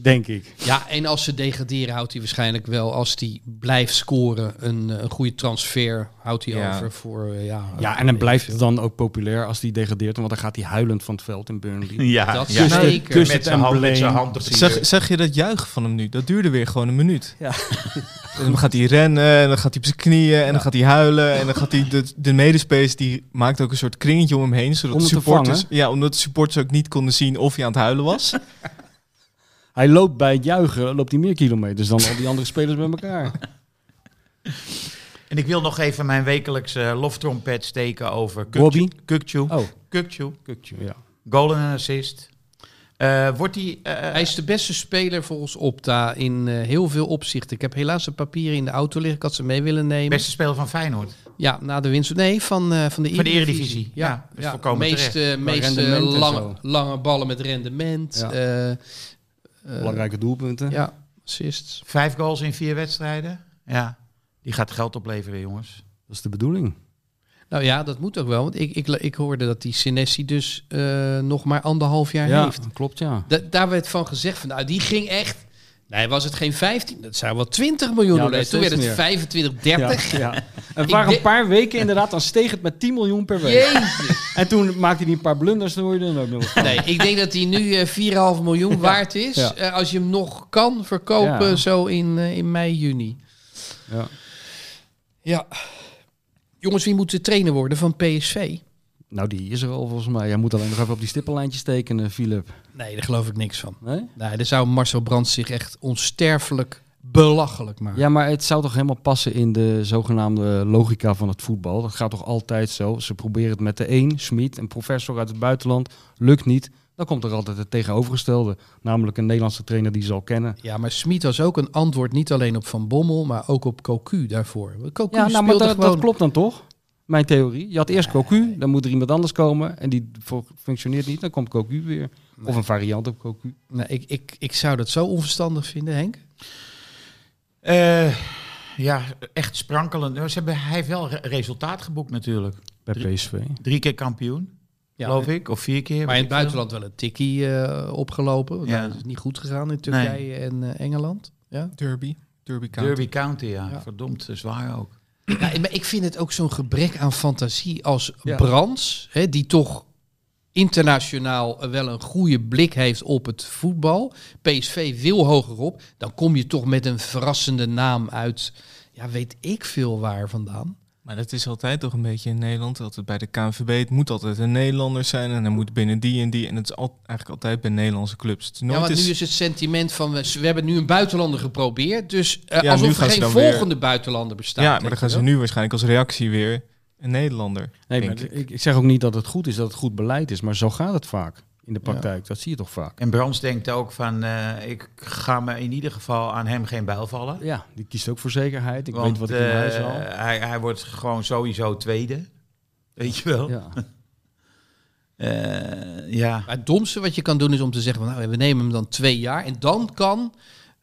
F: Denk ik.
E: Ja, en als ze degraderen houdt hij waarschijnlijk wel, als hij blijft scoren, een, eh, een goede transfer houdt hij
D: Ja.
E: over voor, eh, ja...
F: Ja, en dan blijft het dan ook populair als die degradeert. Want dan gaat hij huilend van het veld in Burnley.
B: Ja,
E: Dat
B: ja.
E: is zeker.
F: dus-
B: met
F: het
B: zijn hand, met zijn
F: embleem.
B: hand op zijn
D: Zag, zag je dat juichen van hem nu? Dat duurde weer gewoon een minuut.
F: Ja.
D: En dan gaat hij rennen, en dan gaat hij op zijn knieën, en dan gaat hij huilen. En dan gaat hij de, de medespace die maakt ook een soort kringetje om hem heen. Zodat
F: Om
D: de
F: het te
D: supporters,
F: vangen?
D: ja, omdat de supporters ook niet konden zien of hij aan het huilen was.
F: Hij loopt bij het juichen, loopt hij meer kilometers dan al die andere spelers bij elkaar.
B: En ik wil nog even mijn wekelijkse eh, loftrompet steken over
F: Bobby?
B: Kukcu. Kukcu.
F: Oh,
B: Kukcu.
F: kutje, ja.
B: Goal en assist. Eh, wordt hij... eh,
E: Hij is de beste speler volgens Opta in eh, heel veel opzichten. Ik heb helaas de papieren in de auto liggen. Ik had ze mee willen nemen.
B: beste speler van Feyenoord.
E: Ja, na de winst. Nee, van, eh, van de Eredivisie.
B: Van de Eredivisie. Ja,
E: Ja,
B: dat is volkomen
E: meeste,
F: Qua
E: meeste
F: rendement en
E: eh, lange,
F: zo.
E: lange ballen met rendement.
F: Ja.
E: eh, eh,
F: Belangrijke doelpunten.
E: Ja, assists.
B: Vijf goals in vier wedstrijden. Ja. Die gaat geld opleveren, jongens.
F: Dat is de bedoeling.
E: Nou ja, dat moet ook wel. Want ik, ik, ik hoorde dat die Senesi dus eh, nog maar anderhalf jaar
F: ja,
E: heeft.
F: klopt ja.
E: Da- daar werd van gezegd van, nou die ging echt... Nee, was het geen 15, dat zou wel 20 miljoen
F: Ja,
E: dollar.
F: dat is
E: Toen werd het
F: meer.
E: 25, 30.
F: Ja, ja. Het
E: Ik
F: waren
E: denk-
F: een paar weken inderdaad, dan steeg het met 10 miljoen per week.
E: Jezus.
F: En toen maakte hij een paar blunders, dan hoor je er ook nog wat van.
E: Nee, ik denk dat hij nu eh, 4,5 miljoen waard is.
F: ja.
E: eh, als je hem nog kan verkopen
F: Ja.
E: zo in, eh, in mei, juni.
F: Ja.
E: Ja. Jongens, wie moet de trainer worden van PSV?
F: Nou, die is er al volgens mij. Jij moet alleen nog even op die stippenlijntjes tekenen, Philip.
E: Nee, daar geloof ik niks van.
F: Nee?
E: Nee, daar zou Marcel Brands zich echt onsterfelijk belachelijk maken.
F: Ja, maar het zou toch helemaal passen in de zogenaamde logica van het voetbal. Dat gaat toch altijd zo. Ze proberen het met de een, Smit, een professor uit het buitenland. Lukt niet. Dan komt er altijd het tegenovergestelde. Namelijk een Nederlandse trainer die ze al kennen.
E: Ja, maar Smit was ook een antwoord niet alleen op Van Bommel, maar ook op Cocu daarvoor. Cocu
F: Ja, nou, maar
E: speelde
F: dat,
E: gewoon...
F: dat klopt dan toch? Mijn theorie. Je had eerst Cocu, dan moet er iemand anders komen. En die vo- functioneert niet, dan komt Cocu weer. Of een variant op Cocu.
E: Nee, ik, ik, ik zou dat zo onverstandig vinden, Henk.
B: Eh, ja, echt sprankelend. Nou, Ze hebben, hij heeft wel re- resultaat geboekt natuurlijk.
F: Bij
B: Drie-
F: PSV.
B: Drie keer kampioen,
E: Ja,
B: geloof ik. Of vier keer.
E: Maar in het
B: weet ik veel.
E: buitenland wel een tikkie eh, opgelopen. want
B: Ja.
E: Dat is niet goed gegaan in Turkije en eh, Engeland. Ja?
D: Derby. Derby
B: Derby County, ja.
E: Ja.
B: Verdomd, eh, zwaar ook.
E: Ja, maar ik vind het ook zo'n gebrek aan fantasie als
F: Ja.
E: Brands, hè, die toch internationaal eh, wel een goede blik heeft op het voetbal. PSV wil hogerop. Dan kom je toch met een verrassende naam uit, ja, weet ik veel waar vandaan.
D: Maar dat is altijd toch een beetje in Nederland. Altijd bij de KNVB. Het moet altijd een Nederlander zijn. En dan moet binnen die en die. En het is al, eigenlijk altijd bij Nederlandse clubs. Het is
E: ja,
D: nooit
E: want
D: eens-
E: nu is het sentiment van we we hebben nu een buitenlander geprobeerd, dus
D: Ja,
E: eh,
D: nu
E: alsof
D: gaan ze
E: er geen
D: dan weer-
E: volgende buitenlander bestaat.
D: ja, maar
E: weet
D: dan
E: je
D: gaan ze
E: wel.
D: nu waarschijnlijk als reactie weer een Nederlander.
F: Nee,
D: denk
F: maar
D: ik.
F: ik, ik zeg ook niet dat het goed is, dat het goed beleid is. Maar zo gaat het vaak in de praktijk. Dat zie je toch vaak.
B: En Brands denkt ook van, eh, ik ga me in ieder geval aan hem geen bijl vallen.
F: Ja, die kiest ook voor zekerheid. Ik
B: want
F: weet wat ik in huis
B: eh,
F: haal.
B: hij, hij wordt gewoon sowieso tweede. Weet je wel?
F: Ja.
B: Eh, ja.
E: Maar het domste wat je kan doen is om te zeggen, van, nou, we nemen hem dan twee jaar. En dan kan,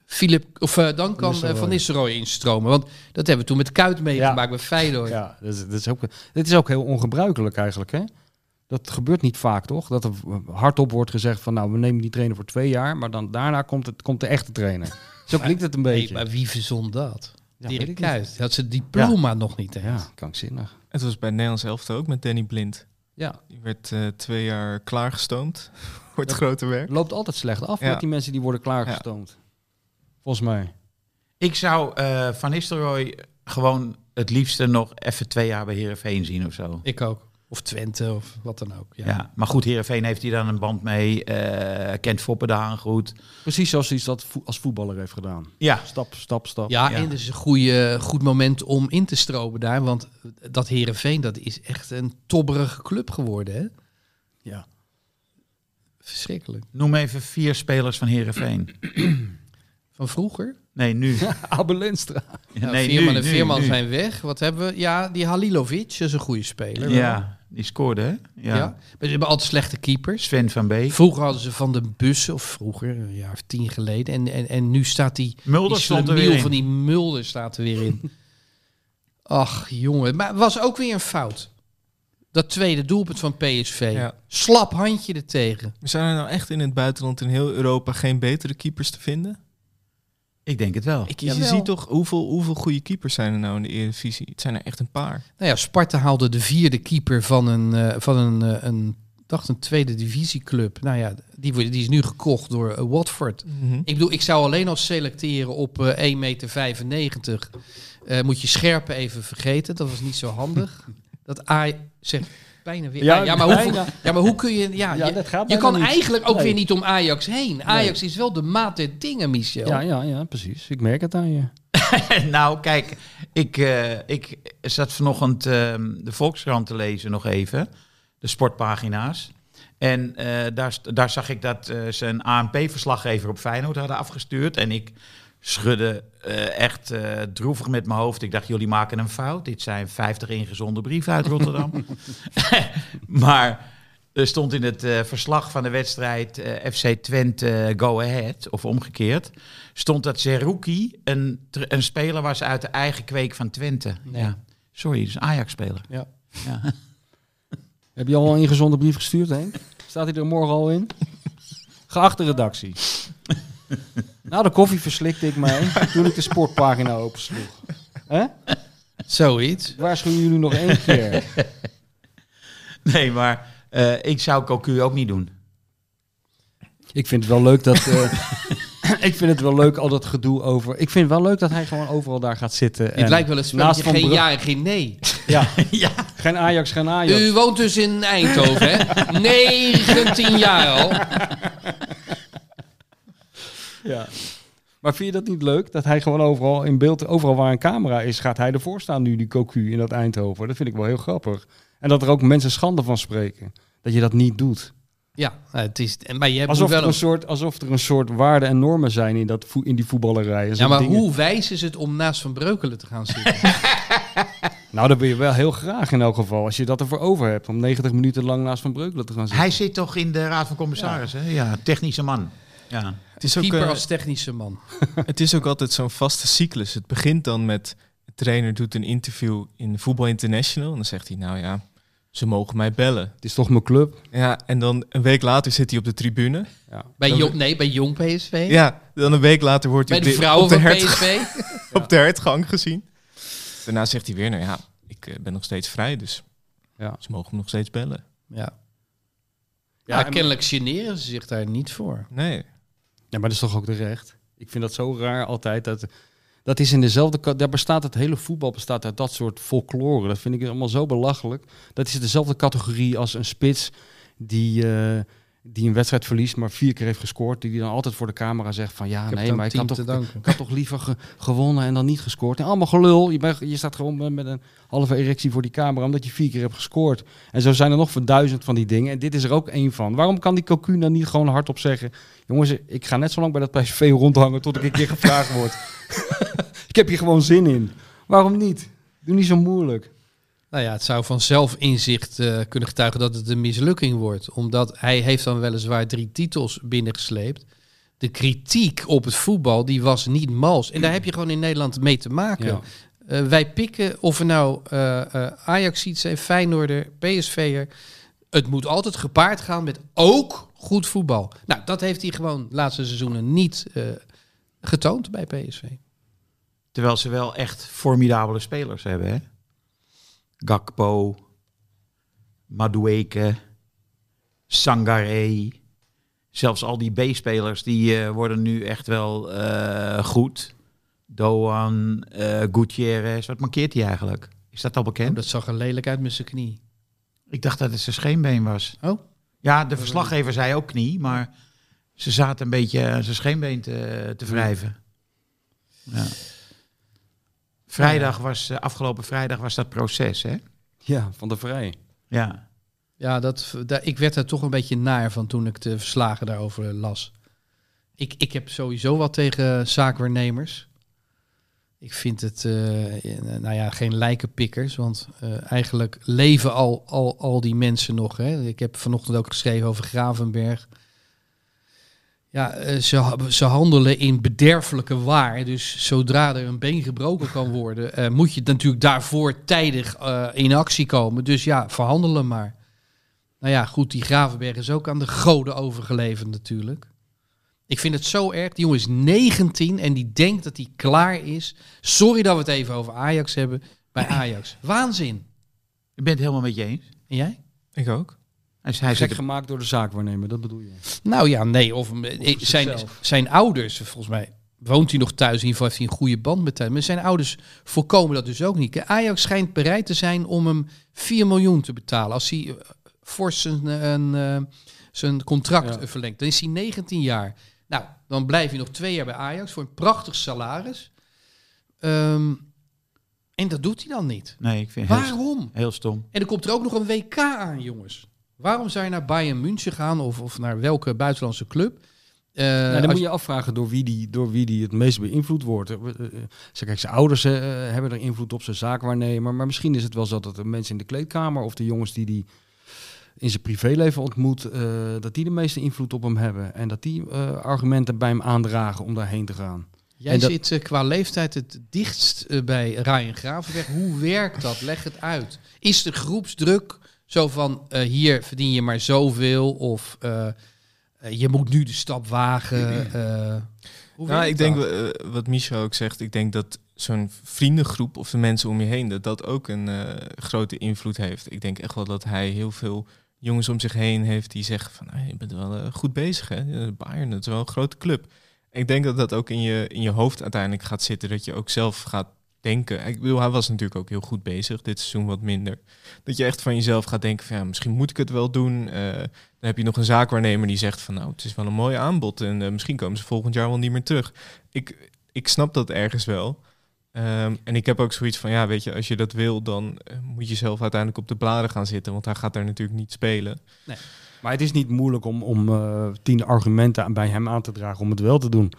E: Philip, of, eh, dan kan eh, Van Nistelrooy instromen. Want dat hebben we toen met Kuit meegemaakt bij Feyenoord.
F: Oh Ja, dat is, dat is ook, dit is ook heel ongebruikelijk eigenlijk. Hè? Dat gebeurt niet vaak, toch? Dat er hardop wordt gezegd van, nou, we nemen die trainer voor twee jaar, maar dan daarna komt, het, komt de echte trainer. Zo klinkt het een
E: Hey,
F: beetje.
E: maar wie verzon dat?
F: Ja, weet
E: Dirk
F: ik niet.
E: Kuyt. Dat ze diploma nog niet heeft.
F: Ja, krankzinnig.
D: Het was bij het Nederlands elftal ook met Danny Blind.
F: Ja,
D: Die werd eh, twee jaar klaargestoomd voor het
F: Dat-
D: grote werk.
F: het loopt altijd slecht af
D: Ja.
F: met die mensen die worden klaargestoomd. Volgens mij.
B: Ik zou eh, Van Nistelrooy gewoon het liefste nog even twee jaar bij Herenveen zien of zo.
E: Ik ook. Of Twente of wat dan ook. Ja.
B: Ja. maar goed, Herenveen heeft hij dan een band mee. eh, kent Foppen daar goed.
F: Precies zoals hij dat vo- als voetballer heeft gedaan.
B: Ja,
F: Stap, stap, stap.
E: Ja,
B: Ja.
E: en het is een goede, goed moment om in te stromen daar. Want dat Herenveen, dat is echt een tobberige club geworden. Hè?
F: Ja.
E: Verschrikkelijk.
B: noem even vier spelers van Herenveen.
E: Van vroeger?
B: Nee, nu.
F: Abel Lenstra.
E: Nou,
B: nee,
E: Veerman
B: nu,
E: en
B: nu,
E: Veerman
B: nu.
E: zijn weg. Wat hebben we? Ja, die Halilovic dat is een goede speler.
B: Ja, die scoorde, hè?
E: Ja.
B: Ja.
E: Maar ze hebben altijd slechte keepers.
B: Sven van Beek.
E: Vroeger hadden ze Van den Bussen, of vroeger, een jaar of tien geleden. En, en, en nu staat die,
B: Mulder
E: die
B: stond er
E: slemiel
B: weer in.
E: van die Mulder staat er weer in. Ach, jongen. Maar het was ook weer een fout. Dat tweede doelpunt van PSV.
D: Ja.
E: Slap handje er tegen.
D: Zijn er nou echt in het buitenland in heel Europa geen betere keepers te vinden?
B: Ik denk het wel.
D: Je
E: Jawel.
D: ziet toch hoeveel, hoeveel goede keepers zijn er nou in de Eredivisie? Het zijn er echt een paar.
E: Nou ja, Sparta haalde de vierde keeper van een, eh, van een, eh, een ik dacht een tweede divisieclub. Nou ja, die, wordt- die is nu gekocht door eh, Watford.
D: Mhm.
E: Ik bedoel, ik zou alleen al selecteren op eh 1,95 meter. Eh, moet je scherpen even vergeten. Dat was niet zo handig. dat AI zegt bijna weer. Ja, ja, maar hoe,
F: bijna.
E: ja, maar hoe kun je... Ja,
F: Ja,
E: je,
F: dat gaat
E: je
F: bijna
E: kan
F: niet.
E: eigenlijk ook
F: Nee.
E: weer niet om Ajax heen. Ajax is wel de maat der dingen, Michel.
F: Ja, ja, ja, precies. Ik merk het aan je.
B: nou, kijk, ik, eh, ik zat vanochtend ehm, de Volkskrant te lezen nog even, de sportpagina's. En eh, daar, st- daar zag ik dat eh, ze een ANP-verslaggever op Feyenoord hadden afgestuurd. En ik schudde eh, echt eh, droevig met mijn hoofd. Ik dacht, jullie maken een fout. Dit zijn 50 ingezonden brieven uit Rotterdam. maar Er stond in het eh, verslag van de wedstrijd eh, FC Twente eh, Go Ahead, of omgekeerd, stond dat Zerouki een, tr- een speler was uit de eigen kweek van Twente.
E: Nee.
B: Ja. Sorry, dus Ajax-speler.
E: Ja.
B: Ja.
F: Heb je al een ingezonden brief gestuurd, Henk? Staat hij er morgen al in? Geachte redactie. Na de koffie verslikte ik mij toen ik de sportpagina opensloeg. Hè?
E: Zoiets.
F: Waarschuwen jullie nog één keer.
B: Nee, maar eh, ik zou Cocu ook niet doen.
F: Ik vind het wel leuk dat. eh, ik vind het wel leuk al dat gedoe over. Ik vind het wel leuk dat hij gewoon overal daar gaat zitten.
E: Het lijkt wel een
F: naast
E: spelletje,
F: Van
E: geen
F: Brugge-
E: ja en geen nee.
F: Ja,
B: ja.
F: geen Ajax, geen Ajax.
E: U woont dus in Eindhoven, hè? 19 jaar al.
F: Ja. Maar vind je dat niet leuk? Dat hij gewoon overal in beeld, overal waar een camera is, gaat hij ervoor staan nu, die cocu in dat Eindhoven. Dat vind ik wel heel grappig. En dat er ook mensen schande van spreken. Dat je dat niet doet.
E: Ja, nou, het is, maar je hebt moet
F: Alsof er
E: wel
F: een
E: een...
F: soort, alsof er een soort waarden en normen zijn in, dat, vo- in die voetballerij. En
E: Ja,
F: zo'n
E: maar
F: dingen.
E: hoe wijs is het om naast Van Breukelen te gaan zitten?
F: Nou, dat wil je wel heel graag in elk geval. Als je dat ervoor over hebt. Om 90 minuten lang naast Van Breukelen te gaan zitten.
B: Hij zit toch in de Raad van Commissarissen? Ja, ja technische man. Ja.
D: Het is, ook,
E: Keeper
D: eh,
E: als technische man.
D: het is ook altijd zo'n vaste cyclus. Het begint dan met... De trainer doet een interview in Voetbal International. En dan zegt hij, nou ja, ze mogen mij bellen.
F: Het is toch mijn club?
D: Ja, en dan een week later zit hij op de tribune.
E: Bij
D: Dan-
E: jong, nee, bij jong PSV.
D: Ja, dan een week later wordt hij
E: bij
D: op
E: de
D: de,
E: vrouwen
D: op, de
E: van
D: hert-
E: PSV.
D: op de hertgang gezien. Daarna zegt hij weer, nou ja, ik eh, ben nog steeds vrij, dus
F: Ja.
D: ze mogen me nog steeds bellen.
E: Ja.
F: Ja,
E: Maar
F: en-
E: kennelijk generen ze zich daar niet voor.
D: Nee.
F: Ja, maar dat is toch ook terecht? Ik vind dat zo raar altijd. Dat, dat is in dezelfde... ka- Daar bestaat het hele voetbal bestaat uit dat soort folklore. Dat vind ik allemaal zo belachelijk. Dat is dezelfde categorie als een spits die, eh, die een wedstrijd verliest... maar vier keer heeft gescoord. Die, die dan altijd voor de camera zegt van... Ja, nee, maar ik had, toch,
E: danken.
F: ik had toch liever ge- gewonnen en dan niet gescoord. En allemaal gelul. Je, bent- je staat gewoon met- met een halve erectie voor die camera... omdat je vier keer hebt gescoord. En zo zijn er nog van duizend van die dingen. En dit is er ook één van. Waarom kan die Cocu dan niet gewoon hardop zeggen... Jongens, ik ga net zo lang bij dat PSV rondhangen tot ik een keer gevraagd word. ik heb hier gewoon zin in. Waarom niet? Doe niet zo moeilijk.
E: Nou ja, het zou van zelfinzicht eh, kunnen getuigen dat het een mislukking wordt. Omdat hij heeft dan weliswaar drie titels binnengesleept. De kritiek op het voetbal, die was niet mals. En daar heb je gewoon in Nederland mee te maken.
F: Ja.
E: Eh, wij pikken of er nou eh eh Ajax iets zijn, Feyenoorder, PSV'er. Het moet altijd gepaard gaan met ook goed voetbal. Nou, dat heeft hij gewoon de laatste seizoenen niet eh, getoond bij PSV.
B: Terwijl ze wel echt formidabele spelers hebben. Hè? Gakpo, Madueke, Sangaré. Zelfs al die B-spelers die eh, worden nu echt wel eh, goed. Doan, eh Gutierrez. Wat mankeert hij eigenlijk? Is dat al bekend?
E: Dat zag er lelijk uit met zijn knie.
B: Ik dacht dat het zijn scheenbeen was.
E: Oh.
B: Ja, de verslaggever zei ook knie, maar ze zaten een beetje aan zijn scheenbeen te, te wrijven. Ja. Vrijdag was, eh, afgelopen vrijdag was dat proces, hè?
F: Ja, van de vrij.
B: Ja.
E: Ja, dat, daar, ik werd daar toch een beetje naar van toen ik de verslagen daarover las. Ik, ik heb sowieso wat tegen zaakwaarnemers. Ik vind het, eh, eh, nou ja, geen lijkenpikkers. Want eh, eigenlijk leven al, al, al die mensen nog. Hè. Ik heb vanochtend ook geschreven over Gravenberg. Ja, eh, ze, ha- ze handelen in bederfelijke waar. Dus zodra er een been gebroken kan worden, eh, moet je natuurlijk daarvoor tijdig eh, in actie komen. Dus ja, verhandelen maar. Nou ja, goed, die Gravenberg is ook aan de goden overgeleverd natuurlijk. Ik vind het zo erg. Die jongen is 19 en die denkt dat hij klaar is. Sorry dat we het even over Ajax hebben. Bij Ajax. Waanzin.
B: Ik ben het helemaal met je eens.
E: En jij?
D: Ik ook.
B: Hij, is- hij
F: Gek
B: zit,
F: gemaakt door de zaakwaarnemer, dat bedoel je.
E: Nou ja, nee. Of, eh, zijn,
F: zichzelf.
E: zijn ouders, volgens mij woont hij nog thuis. In ieder geval heeft hij een goede band met hem. Maar zijn ouders voorkomen dat dus ook niet. Ajax schijnt bereid te zijn om hem 4 miljoen te betalen. Als hij eh, fors zijn, eh, een, eh, zijn contract
F: Ja.
E: eh, verlengt. Dan is hij 19 jaar. Nou, dan blijf je nog twee jaar bij Ajax voor een prachtig salaris. Ehm, en dat doet hij dan niet.
B: nee, ik vind het heel,
E: Waarom?
B: heel stom.
E: En er komt er ook nog een WK aan, jongens. Waarom zou je naar Bayern München gaan of, of naar welke buitenlandse club? Eh,
F: Nou, dan
E: als-
F: moet je afvragen door wie, die, door wie die het meest beïnvloed wordt. Eh, eh, eh, ze- Kijk, zijn ouders eh, hebben er invloed op, zijn zaakwaarnemer. Maar misschien is het wel zo dat de mensen in de kleedkamer of de jongens die die in zijn privéleven ontmoet, eh, dat die de meeste invloed op hem hebben. En dat die eh, argumenten bij hem aandragen om daarheen te gaan.
E: Jij
F: En dat-
E: zit eh, qua leeftijd het dichtst eh, bij Ryan Gravenberg. Hoe werkt dat? Leg het uit. Is de groepsdruk zo van eh, hier verdien je maar zoveel of eh, eh, je moet nu de stap wagen? eh,
D: Nou,
E: hoe werkt
D: ik
E: dat?
D: denk eh, wat Michel ook zegt, ik denk dat zo'n vriendengroep of de mensen om je heen, dat dat ook een eh, grote invloed heeft. Ik denk echt wel dat hij heel veel jongens om zich heen heeft die zeggen van, "Ah, je bent wel eh, goed bezig hè, Eh, Bayern, dat is wel een grote club. Ik denk dat dat ook in je, in je hoofd uiteindelijk gaat zitten, dat je ook zelf gaat denken. Ik bedoel, hij was natuurlijk ook heel goed bezig, dit seizoen wat minder. Dat je echt van jezelf gaat denken van, ja, misschien moet ik het wel doen. Eh, dan heb je nog een zaakwaarnemer die zegt van nou, het is wel een mooi aanbod en eh, misschien komen ze volgend jaar wel niet meer terug. Ik, ik snap dat ergens wel. Ehm, en ik heb ook zoiets van ja, weet je, als je dat wil, dan eh, moet je zelf uiteindelijk op de bladen gaan zitten, want hij gaat daar natuurlijk niet spelen.
F: Maar het is niet moeilijk om, om eh, tien argumenten aan- bij hem aan te dragen om het wel te doen.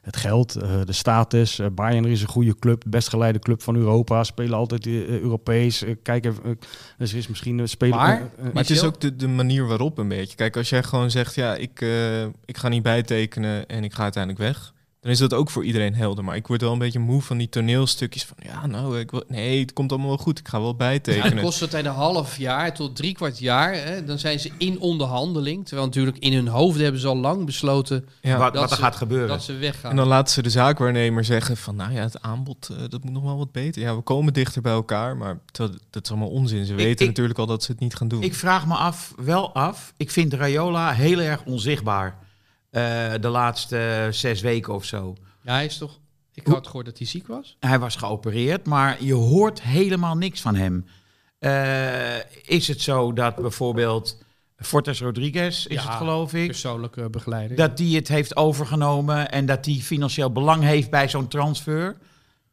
F: Het geld, eh, de status, eh, Bayern is een goede club, best geleide club van Europa, spelen altijd eh, Europees. eh, kijk even, eh, dus er is misschien een speler...
E: Maar-
F: eh, eh,
D: Maar het is
E: Michiel?
D: ook de, de manier waarop een beetje. Kijk, als jij gewoon zegt ja, ik, eh, ik ga niet bijtekenen en ik ga uiteindelijk weg. Dan is dat ook voor iedereen helder. Maar ik word wel een beetje moe van die toneelstukjes van ja, nou, ik wil, nee, het komt allemaal wel goed. Ik ga wel
E: Ja,
D: bijtekenen.
E: dan kost het een half jaar tot drie kwart jaar. Hè, dan zijn ze in onderhandeling. Terwijl natuurlijk in hun hoofd hebben ze al lang besloten
D: Ja.
B: wat,
E: dat
B: wat er
E: ze-
B: gaat gebeuren.
E: dat ze weggaan.
D: En dan laten ze de zaakwaarnemer zeggen van, nou ja, het aanbod, eh, dat moet nog wel wat beter. Ja, we komen dichter bij elkaar, maar dat, dat is allemaal onzin. Ze weten
B: ik-
D: natuurlijk al dat ze het niet gaan doen.
B: Ik vraag me af, wel af. Ik vind Rayola heel erg onzichtbaar. eh, de laatste zes weken of zo.
E: Ja, hij is toch... Ik had gehoord dat hij ziek was.
B: Hij was geopereerd, maar je hoort helemaal niks van hem. Eh, is het zo dat bijvoorbeeld Fortes Rodriguez, is
E: Ja,
B: het geloof ik,
E: Persoonlijke begeleiding.
B: dat die het heeft overgenomen en dat die financieel belang heeft bij zo'n transfer?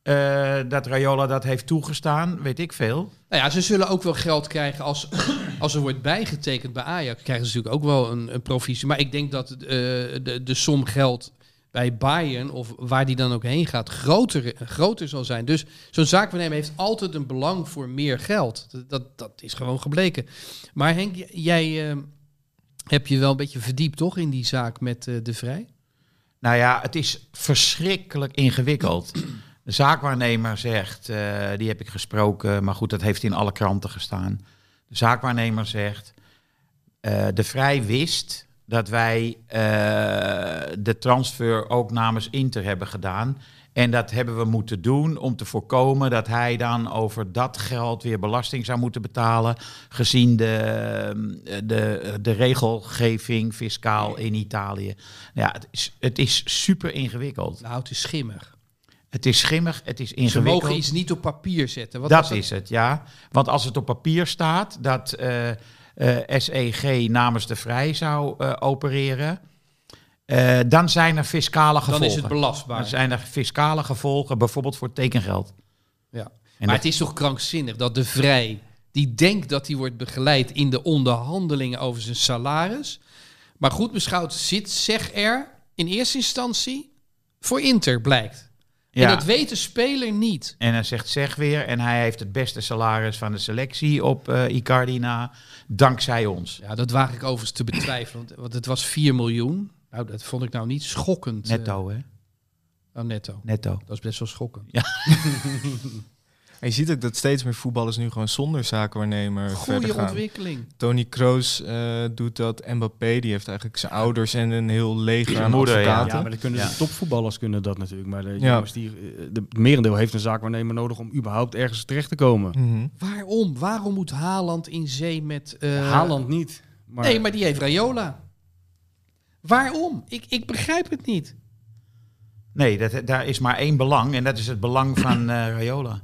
B: Eh, dat Rayola dat heeft toegestaan, weet ik veel.
E: Nou ja, ze zullen ook wel geld krijgen als, als er wordt bijgetekend bij Ajax. Krijgen ze natuurlijk ook wel een, een provisie. Maar ik denk dat eh, de, de som geld bij Bayern of waar die dan ook heen gaat groter, groter zal zijn. Dus zo'n zaakwaarnemer heeft altijd een belang voor meer geld. Dat, dat, dat is gewoon gebleken. Maar Henk, j- jij eh, hebt je wel een beetje verdiept toch in die zaak met eh, De Vrij?
B: Nou ja, het is verschrikkelijk ingewikkeld. De zaakwaarnemer zegt, eh, die heb ik gesproken, maar goed, dat heeft in alle kranten gestaan. De zaakwaarnemer zegt, eh, de Vrij wist dat wij eh, de transfer ook namens Inter hebben gedaan. En dat hebben we moeten doen om te voorkomen dat hij dan over dat geld weer belasting zou moeten betalen. Gezien de, eh, de, de regelgeving fiscaal in Italië. Ja, het is, het is super ingewikkeld.
E: Nou, het is schimmig.
B: Het is schimmig, het is
E: Ze
B: ingewikkeld.
E: mogen iets niet op papier zetten. Wat was
B: dat is het, ja. Want als het op papier staat dat eh, eh, SEG namens de Vrij zou eh, opereren, eh, dan zijn er fiscale
E: Dan
B: gevolgen.
E: is het belastbaar.
B: Dan zijn er fiscale gevolgen, bijvoorbeeld voor tekengeld.
E: Ja.
B: En
E: maar
B: dat-
E: het is toch krankzinnig dat de Vrij, die denkt dat hij wordt begeleid in de onderhandelingen over zijn salaris. Maar goed beschouwd zit, zeg er, in eerste instantie voor Inter blijkt. En dat weet de speler niet.
B: En hij zegt zeg weer. En hij heeft het beste salaris van de selectie op eh Icardi na. Dankzij ons.
E: Ja, dat waag ik overigens te betwijfelen, want- want het was 4 miljoen. Nou, dat vond ik nou niet schokkend. eh,
B: Netto, hè?
E: oh, netto.
B: Netto.
E: Dat is best wel schokkend.
D: En je ziet ook dat steeds meer voetballers nu gewoon zonder zaakwaarnemer verder
E: Goede
D: gaan.
E: ontwikkeling.
D: Tony Kroos eh, doet dat, Mbappé die heeft eigenlijk zijn ouders en een heel leger
B: Zijn
D: aan
B: moeder, ja.
D: advocaten.
F: Ja, maar dat kunnen de topvoetballers kunnen dat natuurlijk. Maar de
D: Ja.
F: jongens die, eh, de, het merendeel heeft een zaakwaarnemer nodig om überhaupt ergens terecht te komen.
D: Mhm.
E: Waarom? Waarom moet Haaland in zee met... eh,
F: Haaland niet. Maar,
E: Nee, maar die heeft Rayola. Waarom? Ik, ik begrijp het niet.
B: Nee, dat, daar is maar één belang. En dat is het belang van eh Rayola.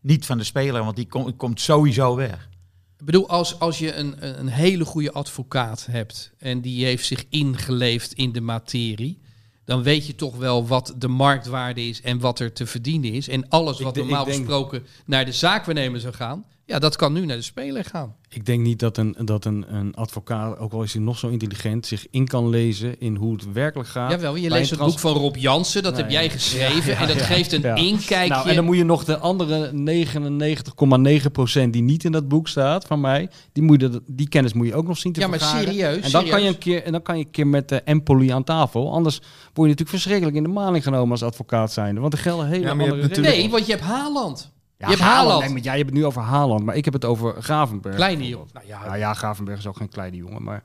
B: Niet van de speler, want die kom- komt sowieso weg.
E: Ik bedoel, als, als je een, een een hele goede advocaat hebt en die heeft zich ingeleefd in de materie, dan weet je toch wel wat de marktwaarde is en wat er te verdienen is. En alles wat
F: de- ik
E: normaal
F: denk-
E: gesproken naar de zaakwaarnemer zou gaan, Ja, dat kan nu naar de speler gaan.
F: Ik denk niet dat een, dat een, een advocaat, ook al is hij nog zo intelligent, zich in kan lezen in hoe het werkelijk gaat.
E: Jawel, je
F: bij
E: leest
F: een
E: het
F: trans-
E: boek van Rob Jansen, dat
F: Nee,
E: heb jij
F: ja.
E: geschreven.
F: Ja,
E: en dat
F: ja,
E: geeft een
F: ja.
E: inkijkje.
F: Nou, en dan moet je nog de andere 99,9% die niet in dat boek staat van mij, die, moet je, dat- die kennis moet je ook nog zien te
E: ja, maar
F: vergaren.
E: serieus.
F: En dan, kan je
E: serieus.
F: een keer, en dan kan je een keer met de Empoli aan tafel. Anders word je natuurlijk verschrikkelijk in de maling genomen als advocaat zijnde. Want er gelden hele
D: Ja, maar je
F: andere
D: hebt
F: regels.
E: Nee, want je hebt Haaland.
F: Ja,
E: je hebt Haaland.
F: Nee, maar jij hebt het nu over Haaland, maar ik heb het over Gravenberg.
E: Kleine jongen. Nou ja,
F: Nou ja, Gravenberg is ook geen kleine jongen, maar...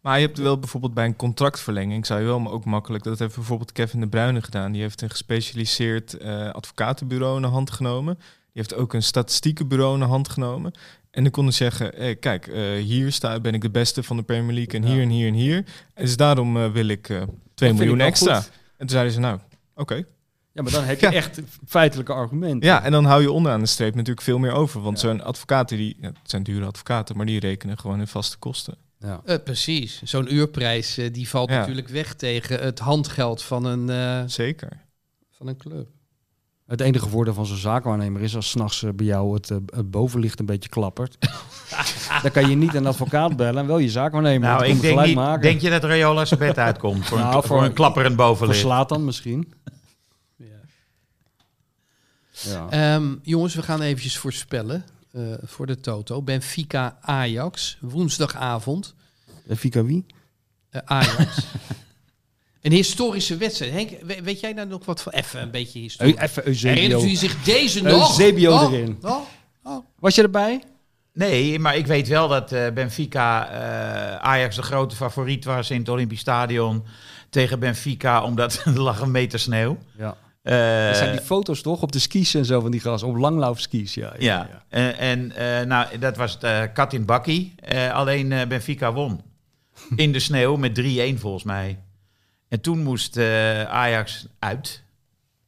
D: Maar je hebt wel bijvoorbeeld bij een contractverlenging, zou je wel, maar ook makkelijk. Dat heeft bijvoorbeeld Kevin de Bruyne gedaan. Die heeft een gespecialiseerd eh, advocatenbureau in de hand genomen. Die heeft ook een statistiekenbureau in de hand genomen. En dan konden ze zeggen, hé, kijk, eh, hier sta, ben ik de beste van de Premier League en hier en hier en hier. En dus daarom eh, wil ik eh 2
F: ik
D: miljoen
F: wel
D: extra.
F: goed.
D: En toen zeiden ze, nou, oké.
F: Ja, maar dan heb je
D: Ja.
F: echt feitelijke argumenten.
D: Ja, en dan hou je onderaan de streep natuurlijk veel meer over. Want zo'n advocaten, die, ja, het zijn dure advocaten, maar die rekenen gewoon hun vaste kosten.
F: Ja.
E: Eh, precies. Zo'n uurprijs eh, die valt
D: Ja.
E: natuurlijk weg tegen het handgeld van een, eh,
D: Zeker.
E: van een club.
F: Het enige voordeel van zo'n zaakwaarnemer is als s'nachts bij jou het, eh, het bovenlicht een beetje klappert. dan kan je niet een advocaat bellen en wel je zaakwaarnemer. want
B: Nou,
F: die
B: ik
F: komt
B: denk,
F: gelijk
B: niet,
F: maken.
B: denk je dat Rayola zijn bed uitkomt voor,
F: Nou,
B: een,
F: voor-
B: voor een klapperend bovenlicht?
F: Verslaat dan misschien. Ja.
E: Ehm, jongens, we gaan eventjes voorspellen eh, voor de Toto. Benfica Ajax, woensdagavond.
F: Eh, Fika wie?
E: Eh, Ajax. een historische wedstrijd. Henk, we- weet, jij daar nog wat van? Even een beetje historie.
F: Eu- Even
E: Herinnert
F: Eusebio.
E: u zich deze nog?
F: Eusebio
E: Nog?
F: erin.
E: Nog?
F: Was je erbij?
B: Nee, maar ik weet wel dat eh, Benfica eh, Ajax de grote favoriet was in het Olympisch Stadion tegen Benfica, omdat er lag een meter sneeuw.
F: Ja.
B: Eh,
F: Dat zijn die foto's toch? Op de skis en zo van die gras. Op langlaufskis, ja.
B: ja, en, en eh, nou, dat was eh Katin Bakkie. Eh, alleen eh, Benfica won. In de sneeuw met 3-1 volgens mij. En toen moest eh, Ajax uit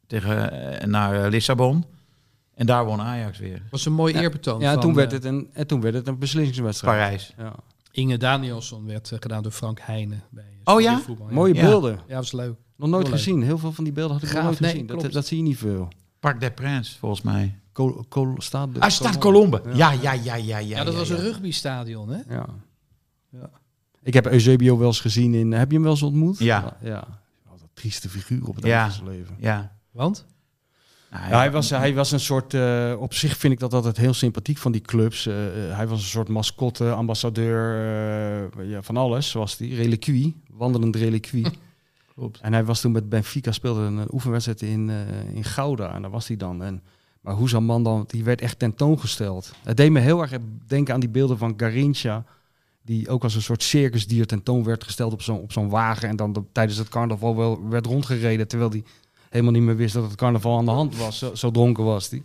B: tegen, eh, naar eh, Lissabon. En daar won Ajax weer.
E: was een mooi eerbetoon.
F: Ja, en
E: van,
F: toen werd
E: eh,
F: het een, en toen werd het een beslissingswedstrijd.
B: Parijs.
F: Ja.
E: Inge Danielson werd eh, gedaan door Frank Heijnen. Bij, eh,
B: Oh ja?
E: Studio Voetbal,
F: Mooie
B: Ja.
F: beelden.
E: Ja, was leuk.
F: Nog nooit
E: Heel leuk.
F: gezien. Heel veel van die beelden had ik nog
E: Gaaf,
F: nooit
E: nee,
F: gezien. Dat,
E: klopt.
F: dat zie je niet veel.
B: Parc des Princes volgens mij.
F: Col, col, staat de,
B: Ah, staat Colombe. Ja, ja, ja, ja, ja.
E: Ja, dat was een rugbystadion, hè?
F: Ja. Ik heb Eusebio wel eens gezien in... Heb je hem wel eens ontmoet?
B: Ja.
F: ja. Wat een trieste figuur op het
B: Ja.
F: einde van zijn leven.
B: Ja.
E: Want?
B: Nou,
F: Ja, hij, was, hij was een soort, eh, op zich vind ik dat altijd heel sympathiek van die clubs. Eh, eh, hij was een soort mascotte, ambassadeur eh, ja, van alles, was die. Reliquie, wandelend reliquie.
B: Klopt.
F: En hij was toen met Benfica, speelde een eh, oefenwedstrijd in, eh, in Gouda. En daar was hij dan. En, maar hoe zo'n man dan, die werd echt tentoongesteld. Het deed me heel erg denken aan die beelden van Garincha. Die ook als een soort circusdier tentoon werd gesteld op zo'n op zo'n wagen. En dan de- tijdens het carnaval wel werd rondgereden. Terwijl die helemaal niet meer wist dat het carnaval aan de hand was. Zo, zo dronken was die.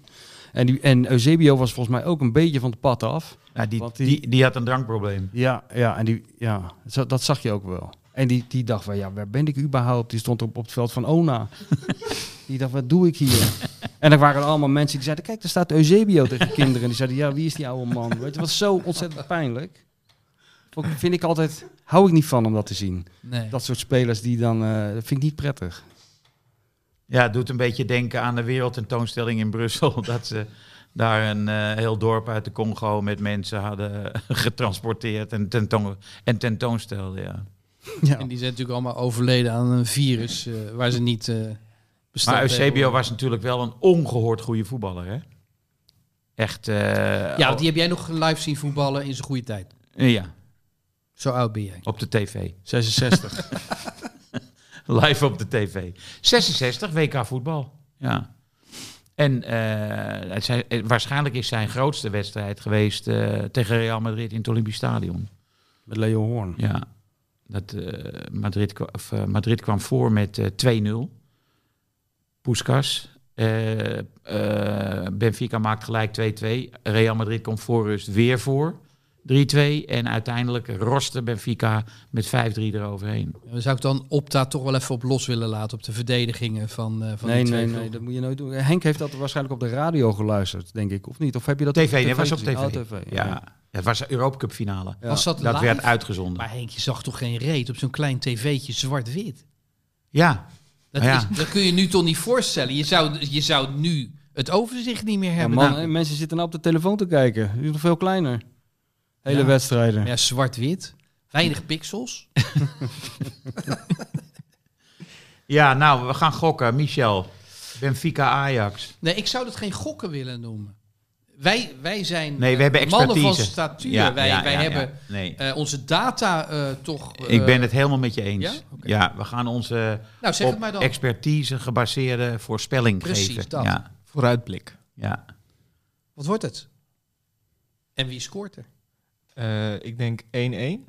F: En, die, en Eusebio was volgens mij ook een beetje van het pad af.
B: Nou, die,
F: want die-
B: die, die had een drankprobleem.
F: Ja, ja, en die, ja zo- dat zag je ook wel. En die, die dacht van, ja, waar ben ik überhaupt? Die stond op, op het veld van Ona. die dacht, wat doe ik hier? en er waren allemaal mensen die zeiden, kijk, daar staat Eusebio tegen kinderen. En die zeiden, ja, wie is die oude man? Weet je, het was zo ontzettend pijnlijk. Ook vind ik altijd, hou ik niet van om dat te zien.
E: Nee.
F: Dat soort spelers die dan, eh, dat vind ik niet prettig.
B: Ja, het doet een beetje denken aan de wereldtentoonstelling in Brussel. Dat ze daar een eh, heel dorp uit de Congo met mensen hadden getransporteerd en, tentoon, en tentoonstelden. Ja.
F: Ja.
E: En die zijn natuurlijk allemaal overleden aan een virus eh, waar ze niet eh bestaan.
B: Maar Eusebio was natuurlijk wel een ongehoord goede voetballer, hè? Echt. eh,
E: Ja,
B: al-
E: die heb jij nog live zien voetballen in zijn goede tijd.
B: ja,
E: Zo oud ben jij.
B: op de tv.
F: 66.
B: Live op de tv. 66, WK voetbal. Ja. En eh, het zijn, eh, waarschijnlijk is zijn grootste wedstrijd geweest eh, tegen Real Madrid in het Olympisch Stadion.
F: Met Leo Hoorn.
B: Ja. Dat, eh, Madrid, kwa- of, eh, Madrid kwam voor met eh, 2-0. Puskas. Eh, eh, Benfica maakt gelijk 2-2. Real Madrid komt voor rust weer voor. 3-2. En uiteindelijk roste Benfica met 5-3 eroverheen.
E: Dan zou ik dan Opta toch wel even op los willen laten op de verdedigingen van, eh van
F: nee,
E: die
F: nee,
E: twee
F: nee,
E: ploegen.
F: dat moet je nooit doen. Henk heeft dat waarschijnlijk op de radio geluisterd, denk ik. Of niet? Of heb je dat
B: TV,
F: op de
B: nee, was op
F: gezien?
B: TV.
F: Oh, TV,
B: Ja, het was de Europa Cup finale.
F: Ja.
E: Was dat,
B: Dat
E: live?
B: werd uitgezonden.
E: Maar Henk, je zag toch geen reet op zo'n klein tv'tje zwart-wit?
B: Ja,
E: Dat,
B: Ja.
E: is- dat kun je nu toch niet voorstellen. Je zou, je zou nu het overzicht niet meer
F: Ja,
E: hebben.
F: man,
E: Nou,
F: en mensen zitten nou op de telefoon te kijken. Die is nog veel kleiner. Hele
E: Ja.
F: wedstrijden.
E: ja, zwart-wit. Weinig pixels.
B: Ja, nou, we gaan gokken. Michel, Benfica Ajax.
E: Nee, ik zou dat geen gokken willen noemen. Wij, wij zijn
B: Nee, we hebben
E: eh, mannen van
B: expertise.
E: statuur.
B: Ja,
E: wij
B: ja,
E: wij
B: ja, ja.
E: hebben
B: Nee.
E: eh, onze data eh, toch... eh,
B: Ik ben het helemaal met je eens.
E: ja?
B: Ja,
E: Oké.
B: we gaan onze
E: Nou, zeg het maar
B: op
E: dan.
B: expertise gebaseerde voorspelling
E: Precies,
B: geven.
E: dat.
B: Ja,
D: Vooruitblik.
B: ja.
E: Wat wordt het? En wie scoort er?
D: Eh, ik denk 1-1.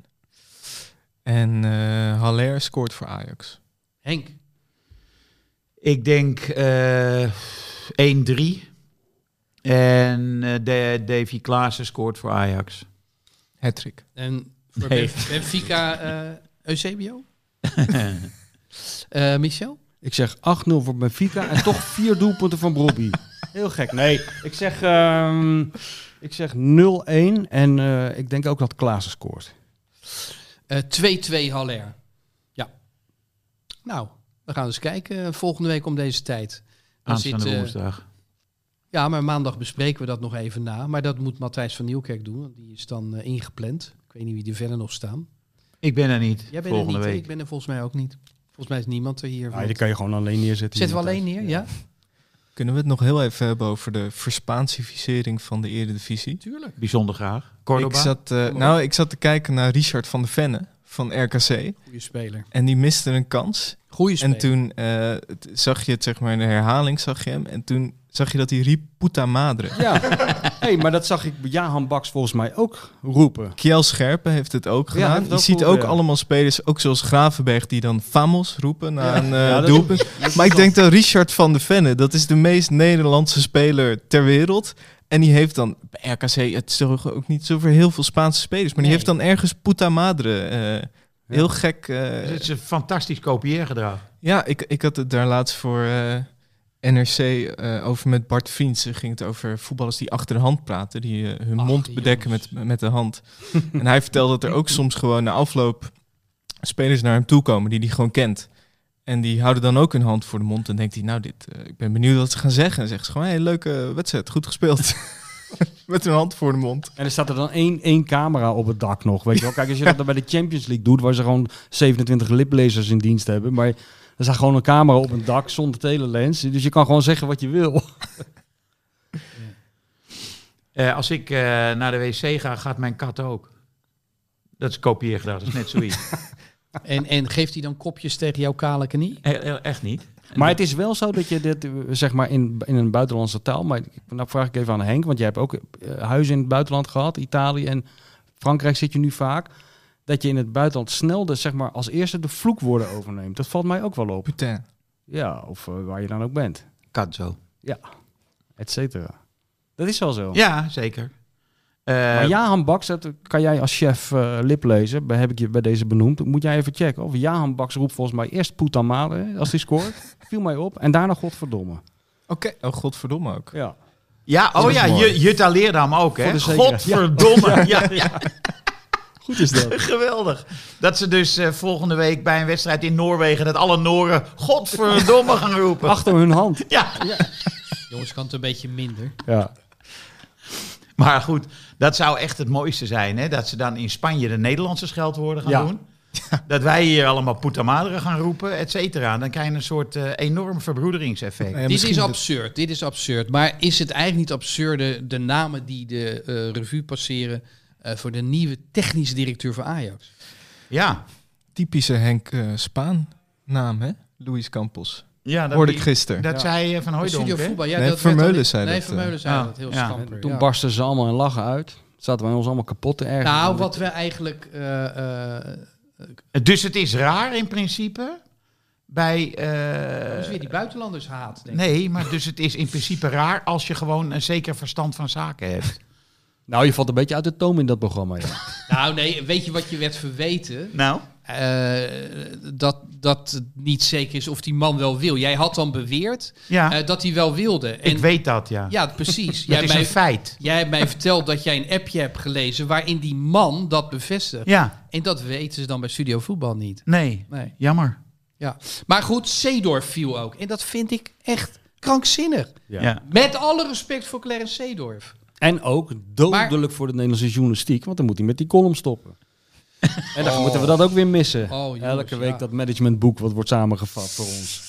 D: En eh Haller scoort voor Ajax.
E: Henk.
B: Ik denk eh 1-3. En eh de, Davy Klaassen scoort voor Ajax.
D: Hattrick.
E: En voor
B: Nee.
E: Benf- Benfica eh, Eusebio? Eh, Michel?
F: Ik zeg 8-0 voor Benfica en toch vier doelpunten van Bobby. Heel gek. Nee, ik zeg, ehm, ik zeg 0-1 en eh, ik denk ook dat Klaassen scoort.
E: Eh, 2-2 Haller. Ja. Nou, we gaan eens kijken eh, volgende week om deze tijd. Dan zit,
B: Aanstaande
E: eh,
B: woensdag.
E: ja, maar maandag bespreken we dat nog even na. Maar dat moet Matthijs van Nieuwkerk doen, want die is dan eh, ingepland. Ik weet niet wie er verder nog staan.
B: Ik ben er niet.
E: Jij bent
B: volgende
E: er niet, hè?
B: week.
E: ik ben er volgens mij ook niet. Volgens mij is niemand er hier.
F: Ah, die kan je gewoon alleen neerzetten.
E: Zetten we
F: hier
E: alleen
F: thuis.
E: neer, ja?
D: Kunnen we het nog heel even hebben over de verspaansificering van de Eredivisie?
E: Tuurlijk.
B: Bijzonder graag.
D: Ik
B: Cordoba.
D: zat, eh, nou, ik zat te kijken naar Richard van de Venne van RKC.
E: Goeie speler.
D: En die miste een kans.
E: Goeie speler.
D: En toen eh, t- zag je het, zeg maar, in de herhaling zag je hem. En toen zag je dat hij riep puta madre.
F: Ja, hey, maar dat zag ik Jahan Baks volgens mij ook roepen.
D: Kiel Scherpen heeft het ook
F: Ja,
D: gedaan.
F: heeft
D: je
F: ook
D: ziet
F: goed,
D: ook
F: ja.
D: allemaal spelers, ook zoals Gravenberg, die dan famos roepen na een eh,
F: Ja, dat-
D: doelpunt. Maar ik denk dat Richard van de Venne, dat is de meest Nederlandse speler ter wereld. En die heeft dan, bij RKC, het is toch ook niet zoveel heel veel Spaanse spelers, maar die
E: Nee.
D: heeft dan ergens puta madre. eh, Heel gek. eh,
B: Het is een fantastisch kopieergedrag.
D: ja, ik, ik had het daar laatst voor eh, NRC eh, over met Bart Vriends. Ze ging het over voetballers die achter de hand praten, die eh, hun
E: Ach,
D: mond bedekken
E: jongens.
D: met, met de hand. en hij vertelde dat er ook soms gewoon na afloop spelers naar hem toe komen die hij gewoon kent. En die houden dan ook hun hand voor de mond en denkt hij, nou dit, eh, ik ben benieuwd wat ze gaan zeggen. En zegt ze gewoon, hey, leuke wedstrijd, goed gespeeld. met hun hand voor de mond.
F: En er staat er dan één, één camera op het dak nog. Weet je wel? Kijk, als je dat dan bij de Champions League doet, waar ze gewoon 27 liplezers in dienst hebben. Maar er staat gewoon een camera op een dak zonder telelens. Dus je kan gewoon zeggen wat je wil.
B: Eh, als ik eh, naar de wc ga, gaat mijn kat ook. Dat is kopieergedrag. Dat is net zoiets.
E: En, en geeft hij dan kopjes tegen jouw kale knie?
B: E- e- Echt niet.
F: Maar het is wel zo dat je dit, eh, zeg maar, in, in een buitenlandse taal... Maar ik- nou vraag ik even aan Henk, want jij hebt ook eh, huizen in het buitenland gehad. Italië en Frankrijk zit je nu vaak. Dat je in het buitenland snel, de, zeg maar, als eerste de vloekwoorden overneemt. Dat valt mij ook wel op.
D: Putain.
F: Ja, of eh, waar je dan ook bent,
B: Kat zo.
F: et cetera. Dat is wel zo.
B: Ja, zeker. Eh,
F: maar Jahan Baks, dat kan jij als chef eh, liplezer, bij- heb ik je bij deze benoemd. Moet jij even checken. Of Jahan Baks roept volgens mij eerst Poetamade als hij scoort. Viel mij op. En daarna Godverdomme.
D: Oké, oh godverdomme ook.
F: Ja.
B: ja, oh
F: Dat is
B: ja,
F: mooi.
B: Ju- Jutta Leerdam ook,
F: Voor
B: hè?
F: de zekerheid.
B: Godverdomme. ja, ja.
F: Goed is dat.
B: Geweldig. Dat ze dus eh, volgende week bij een wedstrijd in Noorwegen... dat alle Nooren godverdomme gaan roepen.
F: Achter hun hand.
B: Ja,
E: Jongens, kan het een beetje minder.
F: Ja.
B: maar goed. Dat zou echt het mooiste zijn, hè? Dat ze dan in Spanje de Nederlandse scheldwoorden gaan
F: Ja.
B: doen. Dat wij hier allemaal putamaderen gaan roepen, et cetera. Dan krijg je een soort eh, enorm verbroederingseffect.
D: Nou ja,
E: dit
D: misschien
E: is
D: dat-
E: absurd, dit is absurd. Maar is het eigenlijk niet absurde, de namen die de eh, revue passeren eh, voor de nieuwe technisch directeur van Ajax?
B: Ja,
D: Typische Henk eh, Spaan naam, hè? Luis Campos.
B: ja dat,
D: Hoorde ik gisteren.
B: dat zei eh, Van
E: De
B: Hooijdonk,
E: Studio
B: hè?
E: voetbal, ja,
D: Nee,
E: dat werd
D: Vermeulen
E: dan-
D: zei
E: nee,
D: dat,
E: Vermeulen zei
B: ja.
E: dat, heel
B: Ja.
E: schamper.
F: Toen
E: ja.
F: barsten ze allemaal in lachen uit. Zaten wij ons allemaal kapot te ergeren.
E: Nou, wat we eigenlijk... eh, eh,
B: Dus het is raar in principe bij...
E: dat is
B: eh,
E: weer die buitenlanders haat, denk ik.
B: nee, maar dus het is in principe raar als je gewoon een zeker verstand van zaken hebt.
F: Nou, je valt een beetje uit de toom in dat programma. Ja.
E: Nou nee, weet je wat je werd verweten?
B: Nou?
E: Eh, dat, dat het niet zeker is of die man wel wil. Jij had dan beweerd
B: Ja,
E: eh, dat hij wel wilde.
B: ik weet dat, ja.
E: Ja, precies.
B: dat
E: Jij
B: is
E: mij-
B: een feit.
E: Jij hebt mij verteld dat jij een appje hebt gelezen waarin die man dat bevestigt.
B: Ja,
E: En dat weten ze dan bij Studio Voetbal niet.
B: nee,
E: Nee.
B: jammer.
E: Ja. Maar goed, Seedorf viel ook. En dat vind ik echt krankzinnig.
B: Ja.
E: Met alle respect voor Clarence Seedorf.
F: En ook dodelijk voor de Nederlandse journalistiek, want dan moet hij met die column stoppen. en dan moeten we dat ook weer missen.
E: Oh, jongens,
F: Elke week
E: ja.
F: dat managementboek wat wordt samengevat voor ons.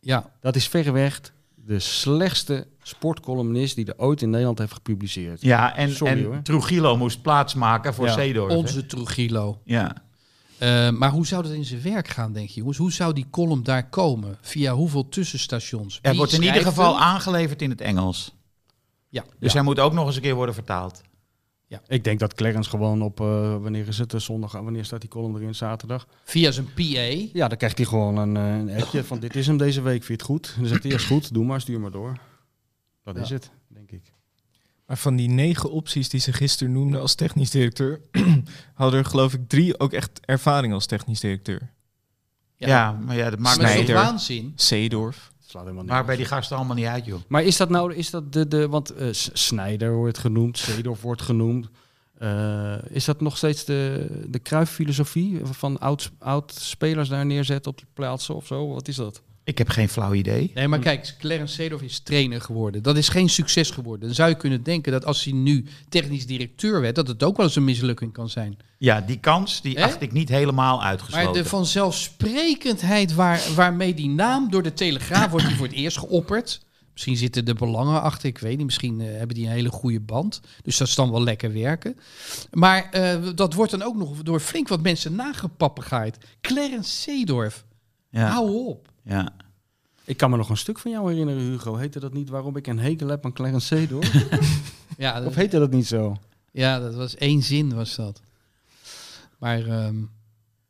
E: Ja,
F: Dat is verreweg de slechtste sportcolumnist die er ooit in Nederland heeft gepubliceerd.
B: Ja, en,
F: Sorry,
B: en
F: hoor.
B: Trujillo moest plaatsmaken voor
F: Ja.
B: Seedorf. hè?
E: onze Trujillo.
B: Ja.
E: Eh, maar hoe zou dat in zijn werk gaan, denk je, jongens? Hoe zou die column daar komen? Via hoeveel tussenstations?
B: Hij
E: Wie
B: wordt in ieder
E: schrijft
B: geval
E: hem?
B: aangeleverd in het Engels.
E: Ja.
B: Dus hij moet ook nog eens een keer worden vertaald.
F: Ik denk dat Clarence gewoon op, eh, wanneer is het, eh, zondag, wanneer staat die column erin, zaterdag?
E: Via zijn PA.
F: Ja, dan krijgt hij gewoon een, eh, een appje van dit is hem deze week, vind je het goed? En dan zegt hij, ja is goed, doe maar, stuur maar door. Dat is het, denk ik.
D: Maar van die negen opties die ze gisteren noemde als technisch directeur, hadden er geloof ik drie ook echt ervaring als technisch directeur.
B: Ja,
E: Ja.
B: maar ja, dat
E: Maar
B: maakt,
E: dat
D: nee.
E: is toch
B: niet,
D: Snyder.
E: waanzin?
D: Zeedorf.
F: Het slaat helemaal
B: maakt
F: nergens
B: bij die gasten allemaal niet uit, joh.
F: Maar is dat nou, is dat de, de want eh, S- Snijder wordt genoemd, Zedorf wordt genoemd. Eh, is dat nog steeds de, de kruiffilosofie van oud, oud spelers daar neerzetten op die plaatsen of zo? Wat is dat?
B: Ik heb geen flauw idee.
E: Nee, maar kijk, Clarence Seedorf is trainer geworden. Dat is geen succes geworden. Dan zou je kunnen denken dat als hij nu technisch directeur werd, dat het ook wel eens een mislukking kan zijn.
B: Ja, die kans die
E: Hè?
B: acht ik niet helemaal
E: Maar
B: uitgesloten.
E: de vanzelfsprekendheid waar, waarmee die naam door de Telegraaf wordt die voor het eerst geopperd. Misschien zitten er belangen achter, ik weet niet. Misschien eh, hebben die een hele goede band. Dus dat is dan wel lekker werken. Maar eh, dat wordt dan ook nog door flink wat mensen nagepappigheid. Clarence Seedorf,
B: ja,
E: hou op.
B: ja.
F: Ik kan me nog een stuk van jou herinneren, Hugo. Heette dat niet waarom ik een hekel heb aan Clarence Seedorf? Oh,
E: Ja, dat,
F: of heette dat niet zo?
E: ja, dat was één zin was dat. Maar ehm,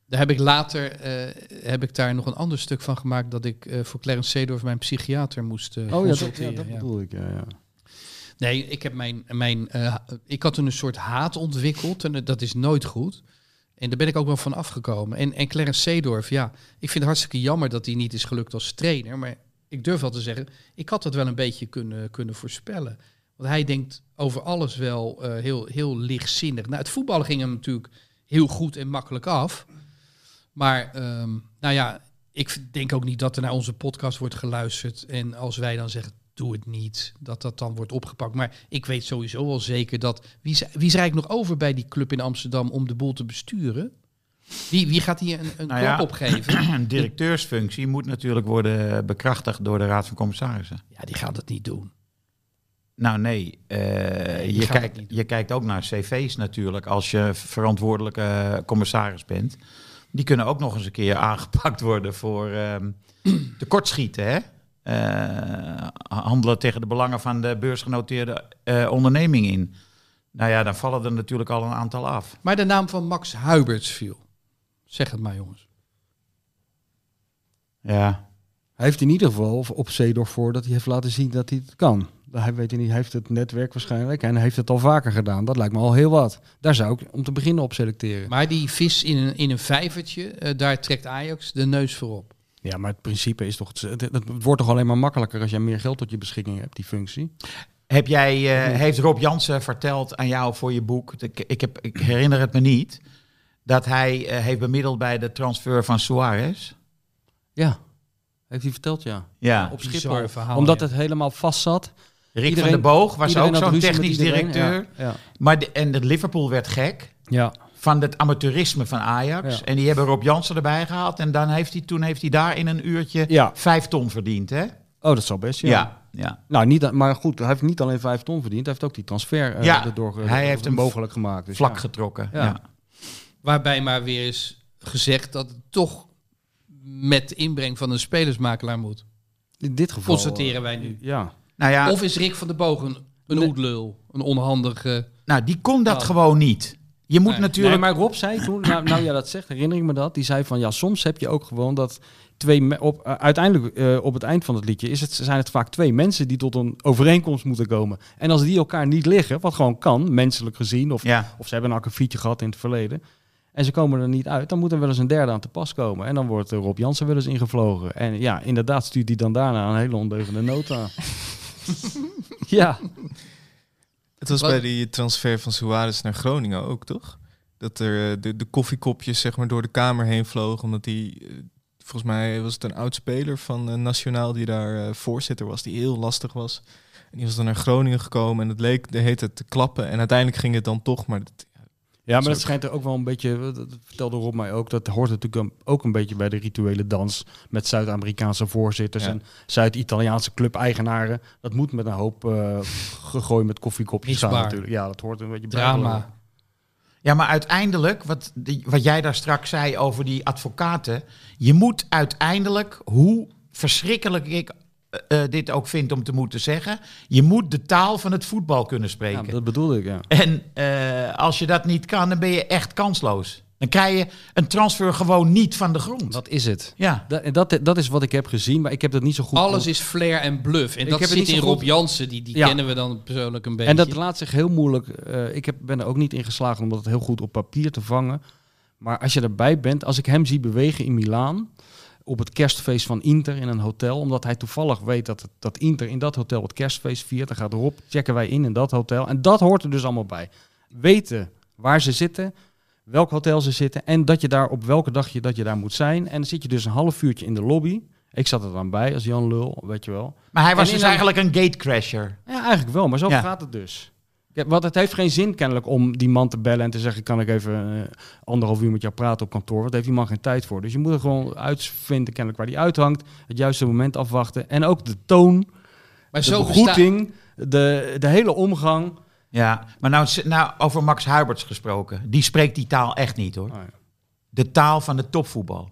E: daar heb ik later eh, heb ik daar nog een ander stuk van gemaakt... dat ik eh, voor Clarence Seedorf mijn psychiater moest eh
F: Oh ja, dat, ja,
E: consulteren,
F: dat
E: ja.
F: bedoel ik. Ja, ja.
E: Nee, ik heb mijn. mijn eh, ik had toen een soort haat ontwikkeld. En dat is nooit goed. En daar ben ik ook wel van afgekomen. En, en Clarence Seedorf, ja. Ik vind het hartstikke jammer dat hij niet is gelukt als trainer. Maar ik durf wel te zeggen. Ik had dat wel een beetje kunnen, kunnen voorspellen. Want hij denkt over alles wel eh, heel, heel lichtzinnig. Nou, het voetballen ging hem natuurlijk heel goed en makkelijk af. Maar, ehm, nou ja, ik denk ook niet dat er naar onze podcast wordt geluisterd. En als wij dan zeggen, doe het niet, dat dat dan wordt opgepakt. Maar ik weet sowieso wel zeker dat... Wie is, wie is er eigenlijk nog over bij die club in Amsterdam om de boel te besturen? Wie, wie gaat hier een, een
B: Nou
E: klap
B: ja.
E: opgeven?
B: Een directeursfunctie moet natuurlijk worden bekrachtigd door de Raad van Commissarissen.
E: Ja, die gaat dat niet doen.
B: Nou nee, eh,
E: die
B: je,
E: gaat het
B: kijkt,
E: niet doen.
B: je kijkt ook naar cv's natuurlijk als je verantwoordelijke eh, commissaris bent. Die kunnen ook nog eens een keer aangepakt worden voor ehm tekortschieten. Hè? Eh, handelen tegen de belangen van de beursgenoteerde eh, onderneming in. Nou ja, dan vallen er natuurlijk al een aantal af.
E: Maar de naam van Max Huiberts viel. Zeg het maar, jongens.
B: Ja,
F: Hij heeft in ieder geval op Zeedorf voor dat hij heeft laten zien dat hij het kan. Hij weet het niet, hij heeft het netwerk waarschijnlijk en hij heeft het al vaker gedaan. Dat lijkt me al heel wat. Daar zou ik om te beginnen op selecteren.
E: Maar die vis in een, in een vijvertje, eh, daar trekt Ajax de neus voor op.
F: Ja, maar het principe is toch. Het, het wordt toch alleen maar makkelijker als jij meer geld tot je beschikking hebt, die functie.
B: Heb jij, eh, heeft Rob Jansen verteld aan jou voor je boek, ik, ik, heb, ik herinner het me niet, dat hij eh, heeft bemiddeld bij de transfer van Suarez?
F: Ja. Heeft hij verteld, ja.
B: Oh, Ja.
F: Op
E: Bizar
F: Schiphol.
E: verhaal,
F: Omdat
E: ja.
F: het helemaal vast zat.
B: Rick
F: Iedereen-
B: van der Boog was
F: Iedereen
B: ook
F: had
B: zo'n
F: ruzie met
B: technisch
F: iedereen,
B: directeur.
F: Ja.
B: Maar de, en de Liverpool werd gek
F: ja.
B: van het amateurisme van Ajax.
F: Ja.
B: En die hebben Rob Jansen erbij gehaald. En dan heeft hij, toen heeft hij daar in een uurtje
F: Ja.
B: vijf ton verdiend, hè?
F: Oh, dat zal best. Ja.
B: ja. ja.
F: Nou, niet, a- maar goed, hij heeft niet alleen vijf ton verdiend. Hij heeft ook die transfer eh
B: Ja,
F: erdoor,
B: hij
F: erdoor
B: heeft hem
F: mogelijk gemaakt. Dus
B: Vlak
F: ja.
B: getrokken.
F: Ja.
B: Ja.
E: Waarbij maar weer is gezegd dat het toch met de inbreng van een spelersmakelaar moet.
F: In dit geval.
E: Constateren wij
F: eh,
E: nu.
F: Ja.
B: Nou ja,
E: Of is Rick van der Boog een, een
F: Nee.
E: hoedlul, een onhandige...
B: nou, die kon dat
E: Nou.
B: gewoon niet. Je moet
E: Nee.
B: natuurlijk...
F: Nee, maar Rob zei toen, nou, nou ja, dat zegt, herinner ik me dat. Die zei van, ja, soms heb je ook gewoon dat twee... me- Op, eh, uiteindelijk, eh, op het eind van het liedje, is het, zijn het vaak twee mensen die tot een overeenkomst moeten komen. En als die elkaar niet liggen, wat gewoon kan, menselijk gezien, of,
B: Ja.
F: of ze hebben een akkefietje gehad in het verleden... En ze komen er niet uit, dan moet er wel eens een derde aan te pas komen. En dan wordt eh, Rob Jansen wel eens ingevlogen. En ja, inderdaad stuurt hij dan daarna een hele ondeugende nota. ja,
D: Het was
E: Wat-
D: bij die transfer van Suarez naar Groningen ook, toch? Dat er eh, de, de koffiekopjes zeg maar door de kamer heen vlogen omdat hij eh, volgens mij was het een oud speler van eh, Nationaal die daar eh, voorzitter was, die heel lastig was. En die was dan naar Groningen gekomen en het leek de hele tijd te klappen. En uiteindelijk ging het dan toch, maar dat-
F: Ja, maar
D: Zo.
F: dat schijnt er ook wel een beetje, dat dat vertelde Rob mij ook, dat hoort natuurlijk een- ook een beetje bij de rituele dans met Zuid-Amerikaanse voorzitters
D: Ja.
F: en Zuid-Italiaanse club-eigenaren. Dat moet met een hoop eh gegooid met koffiekopjes gaan
E: Misbaar.
F: natuurlijk. Ja, dat hoort een beetje bij.
E: Drama.
B: Ja, maar uiteindelijk, wat, die- wat jij daar straks zei over die advocaten. Je moet uiteindelijk, hoe verschrikkelijk ik eh, eh, dit ook vind om te moeten zeggen. Je moet de taal van het voetbal kunnen
F: Ja,
B: spreken.
F: dat bedoelde ik, ja.
B: En eh, als je dat niet kan, dan ben je echt kansloos. Dan krijg je een transfer gewoon niet van de grond.
F: Dat is het.
B: Ja.
F: Dat, en dat, dat is wat ik heb gezien, maar ik heb dat niet zo goed...
E: Alles is flair en bluff. En
F: Ik
E: dat
F: heb het
E: zit
F: niet
E: in
F: zo
E: Rob
F: goed-
E: Jansen, die, die
F: Ja.
E: kennen we dan persoonlijk een beetje.
F: En dat laat zich heel moeilijk. eh, ik heb, ben er ook niet in geslaagd om dat heel goed op papier te vangen. Maar als je erbij bent, als ik hem zie bewegen in Milaan. Op het kerstfeest van Inter in een hotel. Omdat hij toevallig weet dat, het- dat Inter in dat hotel het kerstfeest viert. Dan gaat Rob, checken wij in in dat hotel. En dat hoort er dus allemaal bij. Weten waar ze zitten, welk hotel ze zitten. En dat je daar op welke dag je, dat je daar moet zijn. En dan zit je dus een half uurtje in de lobby. Ik zat er dan bij als Jan Lul, weet je wel.
B: Maar hij was
F: En
B: dus
F: in-
B: eigenlijk een gatecrasher.
F: Ja, eigenlijk wel, maar zo
B: Ja.
F: gaat het dus. Ja, want het heeft geen zin kennelijk om die man te bellen en te zeggen... kan ik even eh, anderhalf uur met jou praten op kantoor? Want daar heeft die man geen tijd voor. Dus je moet er gewoon uitvinden kennelijk waar die uithangt. Het juiste moment afwachten. En ook de toon,
E: maar
F: de
E: zo besta-
F: begroeting, de, de hele omgang.
B: Ja, maar nou, is- nou over Max Huberts gesproken. Die spreekt die taal echt niet hoor.
F: Oh ja.
B: De taal van het topvoetbal.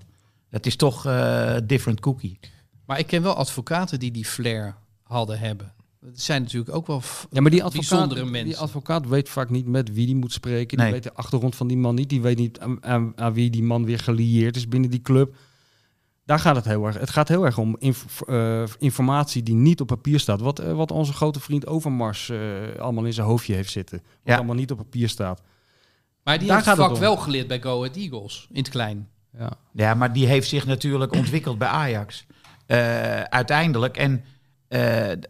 B: Dat is toch eh, different cookie.
E: Maar ik ken wel advocaten die die flair hadden hebben. Het zijn natuurlijk ook wel... f-
F: Ja, maar die advocaat,
E: Bijzondere mensen.
F: die advocaat weet vaak niet met wie die moet spreken.
B: Nee.
F: Die weet de achtergrond van die man niet. Die weet niet aan, aan, aan wie die man weer gelieerd is binnen die club. Daar gaat het heel erg. Het gaat heel erg om inf- eh, informatie die niet op papier staat. Wat, eh, wat onze grote vriend Overmars eh, allemaal in zijn hoofdje heeft zitten. Wat
B: Ja.
F: allemaal niet op papier staat.
E: Maar die
F: Daar
E: heeft
F: gaat
E: het
F: het
E: vak
F: om.
E: wel geleerd bij Go Ahead Eagles, in het klein.
F: Ja.
B: Ja, maar die heeft zich natuurlijk ontwikkeld bij Ajax. Eh, uiteindelijk. En eh, d-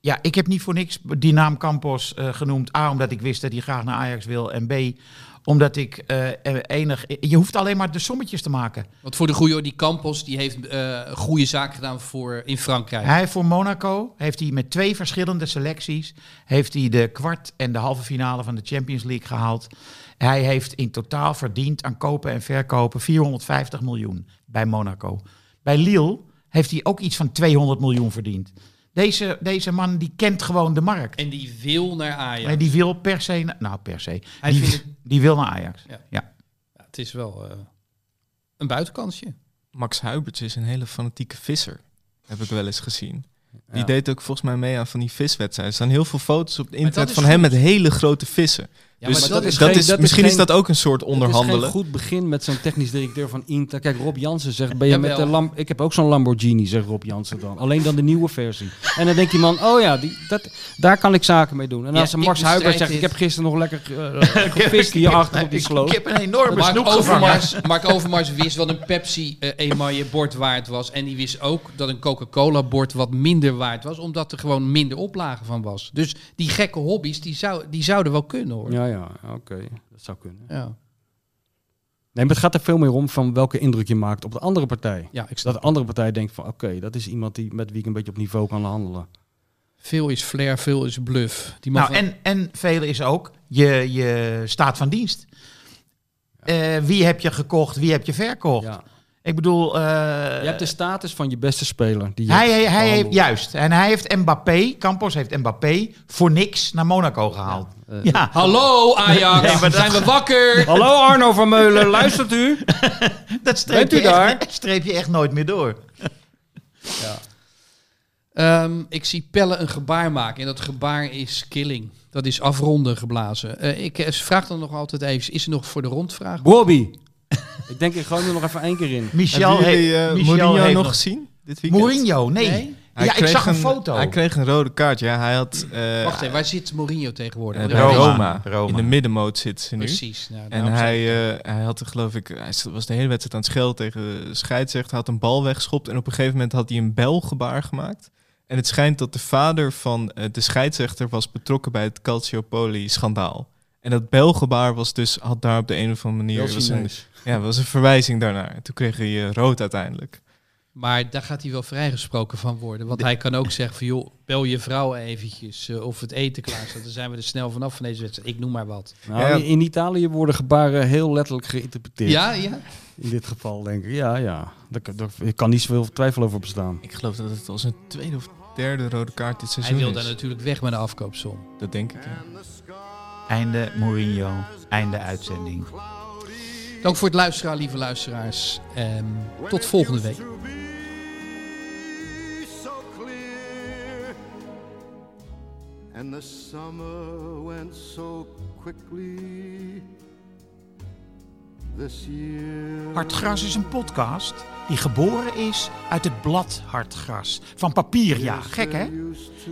B: ja, ik heb niet voor niks die naam Campos eh, genoemd. A, omdat ik wist dat hij graag naar Ajax wil. En B, omdat ik eh, eh, enig... Je hoeft alleen maar de sommetjes te maken.
E: Want voor de goede hoor, die Campos, die heeft eh goede zaken gedaan voor in Frankrijk.
B: Hij heeft voor Monaco heeft hij met twee verschillende selecties heeft hij de kwart en de halve finale van de Champions League gehaald. Hij heeft in totaal verdiend aan kopen en verkopen 450 miljoen bij Monaco. Bij Lille heeft hij ook iets van 200 miljoen verdiend. Deze, deze man die kent gewoon de markt.
E: En die wil naar Ajax.
B: En die wil per se, na- nou per se,
E: Hij
B: die,
E: vindt het-
B: die wil naar Ajax.
E: Ja.
B: Ja.
E: Ja, het is wel eh, een buitenkansje.
D: Max Huiberts is een hele fanatieke visser. Heb ik wel eens gezien. Die
F: Ja.
D: deed ook volgens mij mee aan van die viswedstrijden. Er staan heel veel foto's op het internet
E: is
D: van hem met hele grote vissen.
E: Ja,
D: dus
E: maar
D: dat, is,
F: geen- dat is
D: misschien is
F: geen-
D: dat ook een soort
F: Het is
D: onderhandelen.
F: geen goed begin met zo'n technisch directeur van Inter. Kijk, Rob Jansen zegt, ben je
E: Jawel.
F: met de Lam ik heb ook zo'n Lamborghini, zegt Rob Jansen dan. Alleen dan de nieuwe versie. En dan denkt die man, oh ja, die, dat, daar kan ik zaken mee doen. En
E: Ja,
F: als een
E: ik
F: Max
E: bestrijd
F: Huibert zegt,
E: dit.
F: ik heb gisteren nog lekker eh, gevist hier achter op die
B: Ik
F: sloot.
B: heb een enorme
E: Mark
B: snoep gevangen.
E: Overmars, Mark Overmars wist wat een Pepsi eh, emaille bord waard was. En die wist ook dat een Coca-Cola bord wat minder waard was. Omdat er gewoon minder oplagen van was. Dus die gekke hobby's, die, zou, die zouden wel kunnen hoor.
F: Ja, ja, oké. Dat zou kunnen.
E: ja.
F: Nee, maar het gaat er veel meer om van welke indruk je maakt op de andere partij.
E: Ja, ik
F: Dat
E: snap.
F: de andere partij denkt van, oké, dat is iemand die, met wie ik een beetje op niveau kan handelen.
E: Veel is flair, veel is bluff. Die man
B: Nou,
E: van-
B: en, en vele is ook je, je staat van dienst. Eh, wie heb je gekocht, wie heb je verkocht?
F: Ja.
B: Ik bedoel, eh,
F: Je hebt de status van je beste speler. Die je
B: hij, hij,
F: hebt
B: hij heeft
F: behandeld.
B: juist. En hij heeft Mbappé, Campos heeft Mbappé voor niks naar Monaco gehaald. Ja,
E: Hallo Ajax,
B: Nee, maar dat-
E: zijn we wakker?
F: Hallo Arno van Meulen, luistert u?
B: dat streep
F: Bent u
B: je,
F: daar?
B: Echt, streep je echt nooit meer door.
E: Ehm, ik zie Pelle een gebaar maken. En dat gebaar is killing. Dat is afronden geblazen. Eh, ik eh, vraag dan nog altijd even, is er nog voor de rondvraag?
F: Bobby. ik denk ik gewoon er nog even één keer in.
B: Michel
D: Hebben jullie
B: heeft,
D: eh,
B: Michel
D: Mourinho
B: heeft
D: nog gezien dit weekend?
B: Mourinho, nee.
E: Nee?
D: Hij
B: Ja, ik
D: kreeg
B: zag een foto.
D: Hij kreeg een rode kaart. Ja, hij had... eh,
E: Wacht even, waar zit Mourinho tegenwoordig?
D: eh, bij
E: Want ik-
B: Roma.
D: Roma.
B: Roma.
D: In de middenmoot zit ze nu.
E: Precies. nou,
D: En
E: daarom zeg
D: hij,
E: ik-
D: eh, hij had, er, geloof ik, hij was de hele wedstrijd aan het schelden tegen de scheidsrechter. Had een bal weggeschopt en op een gegeven moment had hij een belgebaar gemaakt. En het schijnt dat de vader van eh, de scheidsrechter was betrokken bij het Calciopoli-schandaal. En dat belgebaar was dus, had daar op de een of andere manier...
F: Heel
D: was een
F: Chinees.
D: Ja, dat was een verwijzing daarnaar. En Toen kreeg hij eh, rood uiteindelijk.
E: Maar daar gaat hij wel vrijgesproken van worden. Want hij kan ook zeggen van joh, bel je vrouw eventjes eh, of het eten klaar staat. Dan zijn we er snel vanaf van deze wedstrijd. Ik noem maar wat.
F: Nou,
D: Ja.
F: in- In Italië worden gebaren heel letterlijk geïnterpreteerd.
E: Ja, ja.
F: In dit geval denk ik, ja, ja. Daar, kan- daar daar kan niet zoveel twijfel over bestaan.
D: Ik geloof dat het al zijn tweede of derde rode kaart dit
E: Hij
D: seizoen
E: wil
D: is.
E: daar natuurlijk weg met de afkoopsom.
D: Dat denk ik, ja.
B: Einde Mourinho, einde uitzending.
E: Dank voor het luisteren, lieve luisteraars. Ehm, tot volgende week.
C: To be so clear. And the summer went so quickly this year.
B: Hartgras is een podcast die geboren is uit het blad Hartgras. Van papier, ja. Gek, hè?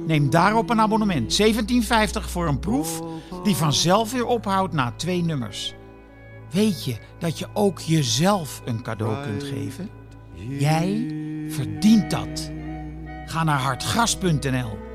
B: Neem daarop een abonnement. 17,50 voor een proef die vanzelf weer ophoudt na twee nummers. Weet je dat je ook jezelf een cadeau kunt geven? Jij verdient dat. Ga naar hartgras.nl